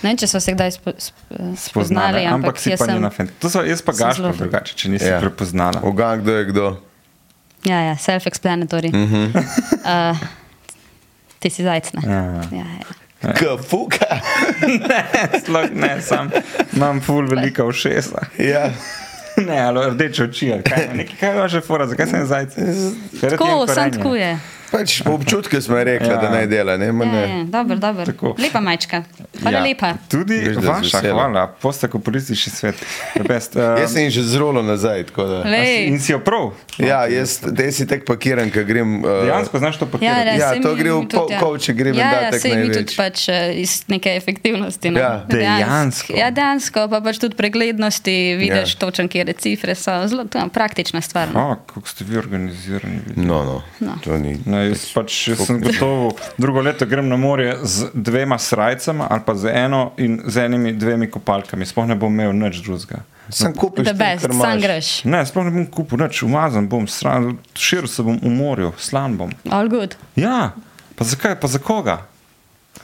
S2: Ne vem, če smo se kdaj spo, sp, spoznali,
S1: spoznali, ampak, ampak si
S2: jaz
S1: pa
S2: sem.
S1: njena fan. To so jaz pa
S2: sem
S1: gašpor
S2: zelo-
S1: drugače, če nisi
S3: Ja.
S1: ja. prepoznala.
S3: Ogan, kdo je kdo.
S2: Ja, ja self-explanatory. Uh -huh. uh, ti si zajec. ne?
S1: Ja, ja.
S2: Ja, ja.
S3: K fuka.
S1: Sploh ne, sam imam ful velika ušesa.
S3: Ja.
S1: Ne, ali rdeče oči, ali kaj, nekaj kaj je vaše fora, zakaj sem zajec? Ker je
S2: Tako,
S1: tem
S2: sem
S1: korenje.
S2: tako je.
S3: Pač po občutku smo rekli,
S1: Ja.
S3: ja. da naj dela. Ne? Ma
S2: Ja,
S3: ne.
S2: ja, dobro, dobro.
S1: Tako.
S2: Lepa majčka. Hvala
S1: Ja.
S2: ja. lepa.
S1: Tudi
S3: Veš, da z
S1: vaša,
S3: veseljem.
S1: hvala, postakopolistični svet. The Best, um,
S3: Jaz sem jih že zrolo nazaj. tako da.
S2: Le- Ej.
S1: in si jo prav.
S3: Ja, jaz te si tek pakiran, ko grem. Uh,
S1: Dejansko znaš to
S2: Ja,
S1: pakirati.
S2: ja,
S3: Ja,
S2: saj
S3: to
S2: mi-
S3: gre v
S2: mi tudi,
S3: po- kovče, gre
S2: ja,
S3: menda
S2: ja,
S3: tako
S2: sej mi
S3: največ.
S2: tudi pač eh, iz neke efektivnosti. No.
S3: Ja.
S1: Dejansko.
S2: Ja, dejansko, pa pač tudi preglednosti, vidiš
S3: Ja.
S2: ja. točno, kje cifre so. Zelo to je praktična stvar. No.
S1: O, Ah, kako ste vi organizirani. vi.
S3: No, no.
S2: No.
S3: To ni.
S1: No, jaz pač jaz sem gotovo. Drugo leto grem na morje z dvema srajcama ali pa z eno in z enimi dvemi kopalkami. Sploh ne bom imel nič drugega.
S3: Sam kupiš,
S2: The
S3: to,
S2: best,
S3: kar
S2: sam
S3: imaš.
S2: greš.
S1: Ne, sploh ne bom kupil nič, umazan bom, sran, širil se bom v morju, slan bom.
S2: All good.
S1: Ja, pa zakaj, pa za koga?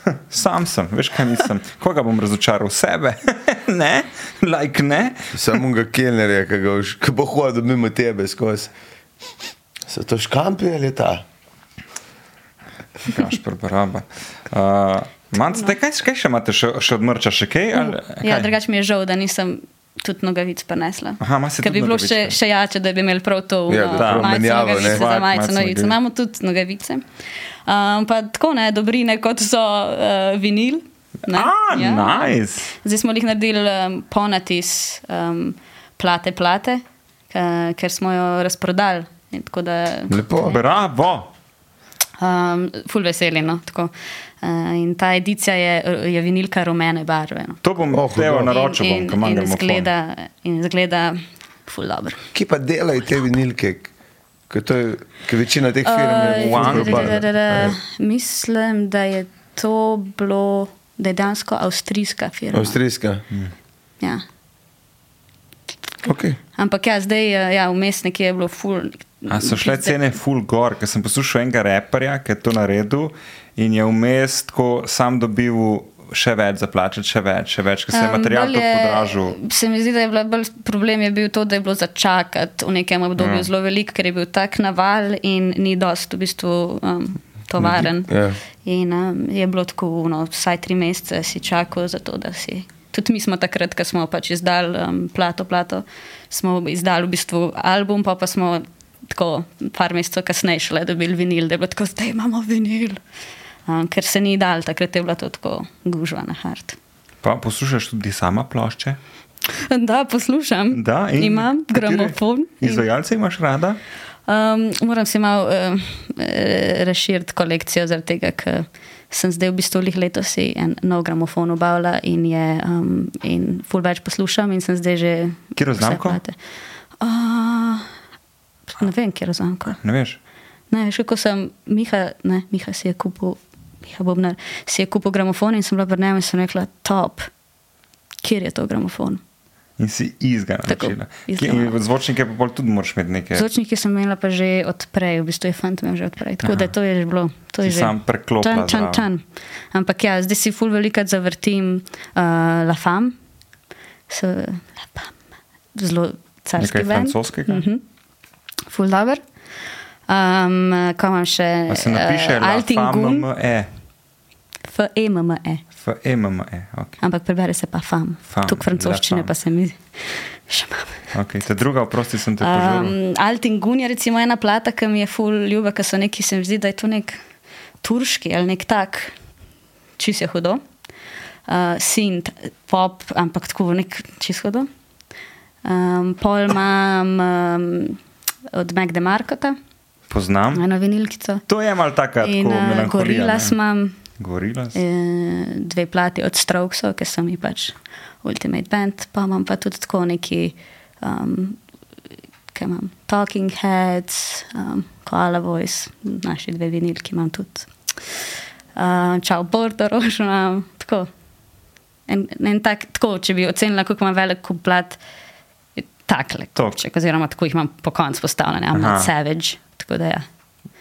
S1: Hm, Sam sem, veš kaj mislim. Koga bom razočaral? Sebe? ne, like ne.
S3: Samo ga kelnerja, ki ga už- ki bo hodil mimo tebe skozi. So to škampi ali je ta?
S1: Gašpr, baraba. Uh, Manc, te, kaj, kaj še imate, še, še odmrča, še kaj? Ali,
S2: Ja,
S1: kaj?
S2: drugač mi je žal, da nisem tudi nogavic prenesla.
S1: Aha, ima si
S2: Ker
S1: tudi
S2: bi bilo
S1: nogavičke.
S2: še, še jače, da bi imeli prav to
S3: Ja, da
S2: no,
S3: prav
S2: majico
S3: menjavo, ne.
S2: nogavice za
S1: Fakt, majico
S2: majico nogavice.
S1: nogavic.
S2: Imamo tudi nogavice. Um, pa tako ne, dobrine kot so uh, vinil. Ne? ja.
S1: A, nice.
S2: Zdaj smo jih naredili um, ponati iz um, plate, plate, uh, ker smo jo razprodali. In Tako da
S3: Lepo.
S1: Bravo.
S2: um, ful veseli. No, tako. uh, in ta edicija je, je vinilka rumene barve. No.
S1: To bom
S3: Oh,
S1: oh, teo
S3: hudo.
S1: naročil, bom,
S2: in,
S1: kam
S2: in, in
S1: gremo.
S2: zgleda, in zgleda ful dobro.
S3: Ki pa delajo te vinilke, ker to je, ker večina teh firm je
S2: Eh,
S3: v
S1: Wango
S2: da, da, da, da,
S3: Angliji.
S2: da. Mislim, da je to bilo, da je dansko avstrijska firma.
S3: Avstrijska.
S2: Ja.
S3: Okay.
S2: Ampak ja, zdaj eh, ja, vmes nekje je bilo ful.
S1: A so šle cene full gor, ker sem poslušal enega reperja, ki je to naredil in je vmes tako sam dobil še več za plačati, še več, še več, ker Pač, se je
S2: Em,
S1: material
S2: bolj
S1: tako
S2: je-
S1: podražil.
S2: Se mi zdi, da je bila bolj problem je bil to, da je bilo začakati v nekem obdobju
S1: Ja.
S2: mm. zelo veliko, ker je bil tak naval in ni dost v bistvu um, tovaren.
S3: Ja.
S2: In um, je bilo tako, no, vsaj tri mesece si čakal za to, da si. Tudi mi smo takrat, ko smo pač izdali um, plato, plato, smo izdali v bistvu album, pa pa smo tako par mesecev kasneje šele dobili vinil, da je bilo tako, zdaj imamo vinil. Um, ker se ni dal, takrat je bila to tako gužva na hart.
S1: Pa poslušaš tudi sama plošče?
S2: Da, poslušam.
S1: Da, in
S2: Imam
S1: katere
S2: gramofon. In,
S1: Izvajalce imaš rada?
S2: um, moram si malo uh, razširiti kolekcijo, zaradi tega, ker sem zdaj v bistvu lih letos si en nov gramofon obavila in je um, in ful več poslušam in sem zdaj že.
S1: Katero
S2: vse
S1: znamko?
S2: plate. Uh, ne vem, kje razumem.
S1: Ne veš.
S2: Ne, veš, kako sem, Miha, ne, Miha si je kupil, Miha Bobnar, si je kupil gramofon in sem bila pri njem in sem rekla, top, kjer je to gramofon.
S1: In si izgana.
S2: Tako, izganala.
S1: Zvočnike pa pol tudi moraš imeti nekaj.
S2: Zvočnike sem imela pa že odprej, v bistvu je fant imel že odprej. Tako da
S1: Aha.
S2: to je že bilo. To je
S1: Si
S2: že.
S1: sam preklopila
S2: Čan, čan,
S1: zraven.
S2: čan. Ampak ja, zdaj si ful velikrat zavrtim uh, La Fam, S, La Fam. zelo carski
S1: Nekaj
S2: ven.
S1: francoskega?
S2: Mhm. Ful dober. Um, ko imam še
S1: Pa se napiše
S2: eh, Altingun,
S1: LAFAMME.
S2: E F-E-M-M-E.
S1: E FMME. Okay.
S2: Ampak prebere se pa fam.
S1: Fam,
S2: Tuk
S1: la
S2: francoščine
S1: fam.
S2: pa se mi še imam.
S1: Okay. Ta druga, oprosti, sem te požrl. Um,
S2: Um, Altingun je recimo ena plata, ki mi je ful ljuba, ker so neki, se mi zdi, da je to nek turški ali nek tak, čist je hudo. Uh, Sint, pop, ampak tako nek čist hudo. Um, pol imam um, od Magda Markota,
S1: Poznam.
S2: eno vinilkico.
S1: To Hm? je malo taka,
S2: In
S1: tako
S2: uh,
S1: melankolija.
S2: gorila
S1: ne.
S2: sem.
S1: Gorila sem.
S2: Eh, dve plati od Strokesov, ki so mi pač Ultimate Band, pa imam pa tudi tako neki, um, kaj imam, Talking Heads, um, Koala Voice, naši dve vinilki imam tudi. Uh, čau, Bordo, rožnam, tako. En, en tak, tako, če bi ocenila, kako imam velik kup plat, je takle,
S1: To.
S2: kupček, oziroma tako jih imam po koncu postavljene, imam
S1: Aha.
S2: Savage, tako da ja.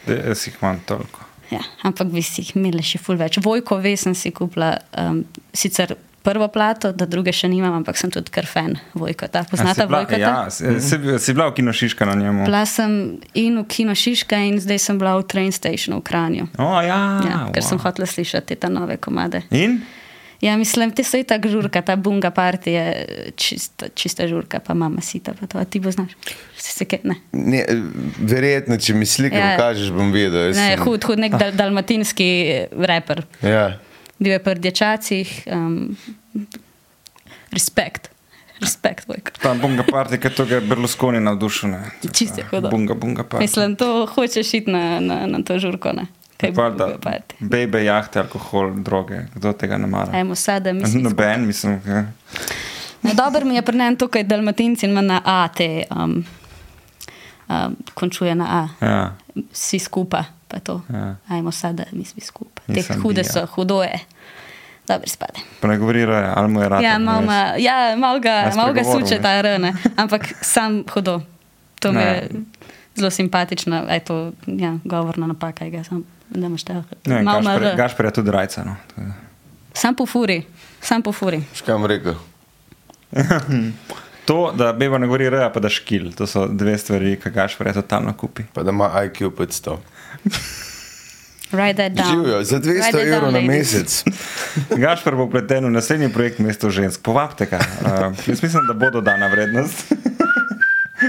S1: De- Jaz jih imam toliko.
S2: Ja, ampak bi si jih imeli še ful več. Vojko ve, sem si kupila um, sicer prvo plato, da druge še nimam, ampak sem tudi kar fan Vojko. Ta,
S1: A si
S2: poznata
S1: bila-
S2: Vojko?
S1: Ja, si, si- si bila v kinošiška na njemu.
S2: Bila sem in v Kino Šiška, in zdaj sem bila v train stationu v Kranju.
S1: O, ja,
S2: Ja, ker
S1: wow.
S2: sem hotela slišati te ta nove komade.
S1: In?
S2: Ja, mislim, te so i tako žurka, ta bunga party je čista, čista žurka, pa mama sita, pa to, a ti bo znaš. Si se kaj, ne.
S3: Ne, eh, verjetno, če mi slike
S2: Ja.
S3: ja. pokažeš, bom vedel. Jaz
S2: Ne,
S3: sem-
S2: hud, hud, nek dal, dalmatinski eh, raper.
S3: Ja.
S2: Bil je pri dečacih, um, respekt, respekt, vojko.
S1: Ta bunga party, ki to je Berlusconi navdušen. ne.
S2: Čist je hudo.
S1: Bunga, bunga party.
S2: Mislim, to hočeš iti na, na, na to žurko, ne? Kaj bo
S1: Valjda,
S2: parti.
S1: Bejbe, jahte, alkohol, droge, kdo tega ne mara.
S2: Ajmo sada, mislim.
S1: Noben, mislim. ja.
S2: No, dobro mi je pri njem tukaj dalmatinci in ima na A te, um, um, končuje na A.
S1: Ja.
S2: Vsi skupaj, pa to.
S1: Ja.
S2: Ajmo sada, mi smo skupaj. Te
S1: Nisem
S2: hude
S1: bil, ja.
S2: so, hudo je. Dobro spade.
S1: Pa ne govori, raje, ali mu je rad.
S2: Ja, malo ma- ja, mal ga,
S1: Nas
S2: mal ga
S1: pregovoril,
S2: suče
S1: ne?
S2: ta rn, ampak sam hodo. To mi
S1: Ne.
S2: je zelo simpatično, a je to ja, govorna napaka, je ga sam ne moreš tega.
S1: Ne,
S2: Mal ima
S1: Gašper,
S2: R.
S1: Gašper je tudi rajca. No. tako da.
S2: Sam po furi, sam po furi.
S3: Škam rekel.
S1: To, da beba ne govori, raje, pa da škil. To so dve stvari, ki Gašper je totalno kupi.
S3: Pa da ima IQ 500.
S2: Write that down.
S3: Živijo za
S2: Write
S3: 200
S2: that down,
S3: evrov na
S2: ladies.
S3: mesec.
S1: Gašper bo pleten v naslednji projekt Mesto žensk. Povabite ga. Uh, jaz mislim, da bo dodana vrednost.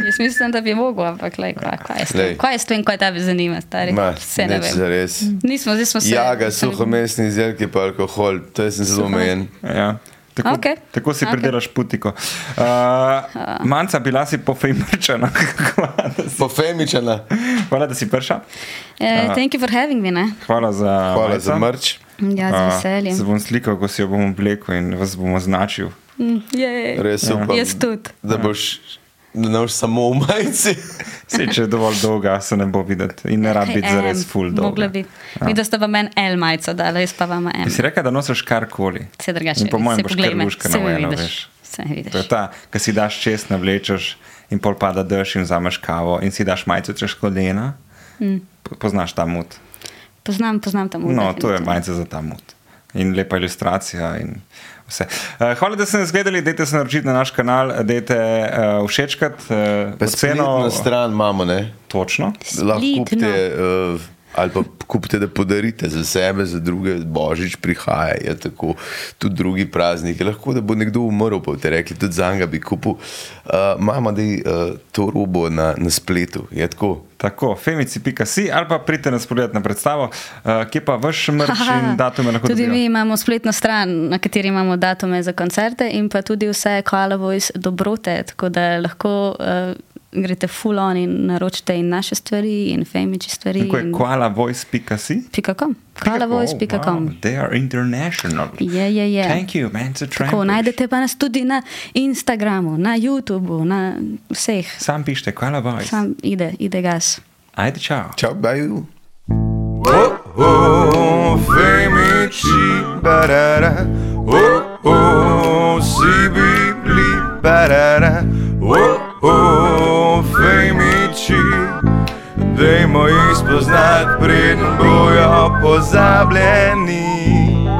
S2: Jaz mislim, da bi mogel, ampak lej, kaj, kaj, je s tem?
S3: Lej.
S2: kaj je s tem, kaj te zanima, stari?
S3: Ma,
S2: Vse ne
S3: nič Ja,
S2: vem.
S3: zares.
S2: Nismo, zdaj smo se.
S3: Jaga, suhomesni izdelki, pa alkohol, to jaz sem zelo omejen.
S1: Ja. Tako,
S2: Okej.
S1: tako si
S2: Okej.
S1: pridelaš putiko. Uh, manca, bila si pofejmrčena.
S3: Pofemičana,
S1: Hvala, da si prišla.
S2: Uh, thank you for having me, ne?
S1: Hvala za,
S3: hvala
S1: majico.
S3: za mrč.
S2: Ja, z
S1: A,
S2: veseljem.
S1: Se bom slikal, ko si jo bom oblekel in vas bom označil.
S2: Mm, jej.
S3: Res upam,
S2: Jaz tudi.
S3: da boš da ne boš samo v majici.
S1: Sej, če je dovolj dolga, se ne bo videti in ne rad biti
S2: Em,
S1: zares full dolg.
S2: Mogla bi. Ja. Videla ste pa meni L majico, dala jaz pa vama M.
S1: Si rekel, da nosiš karkoli.
S2: Se drugače.
S1: In po mojem
S2: se
S1: boš
S2: poglejme,
S1: krvuška
S2: se me
S1: navajena,
S2: vidiš,
S1: veš.
S2: Se me vidiš.
S1: To je ta, ki si daš čest, navlečeš in pol pada dež in vzameš kavo in si daš majico čez kolena. Mm. Poznaš ta mut.
S2: Poznam, poznam tam
S1: No, to je majica za ta mut. In lepa ilustracija. In vse. Eh, Hvala, da ste nas gledali, dajte se naročiti na naš kanal, dajte uh, všečkati, uh,
S3: Pa spletno
S1: oceno.
S3: stran imamo, ne?
S1: Točno.
S3: Lahko
S2: Spletno.
S3: kupite uh, Ali pa kupite, da podarite za sebe, za druge, božič prihaja, je tako, tudi drugi praznik. Lahko da bo nekdo umrl, pa boste rekli, tudi za njega bi kupil. Uh, mama, da je uh, to robo na, na spletu, je tako.
S1: Tako, femici.si ali pa pridite nas pogledati na predstavo, uh, kje pa vaš mrč in datume lahko
S2: Tudi
S1: dobijo.
S2: mi imamo spletno stran, na kateri imamo datume za koncerte in pa tudi vse Koala Voice dobrote, tako da lahko uh, greste full on in naročite in naše stvari in femiči stvari.
S1: Tako je
S2: in-
S1: koalavoice.si.
S2: Pika com. Koalavoice.com.
S1: Wow, they are international.
S2: Je, je, je.
S1: Thank you, man, za
S2: Tako,
S1: tramp.
S2: najdete pa nas tudi na Instagramu, na YouTubu, na vseh.
S1: Sam pišite, koalavoice.
S2: Sam ide, ide gas.
S1: Ajde, čau.
S3: Čau, baju.
S5: Oh, oh, femici, barara. Oh, oh, sibi, bli, barara. Oh, oh, femici, dajmo jih spoznat, preden bojo pozabljeni.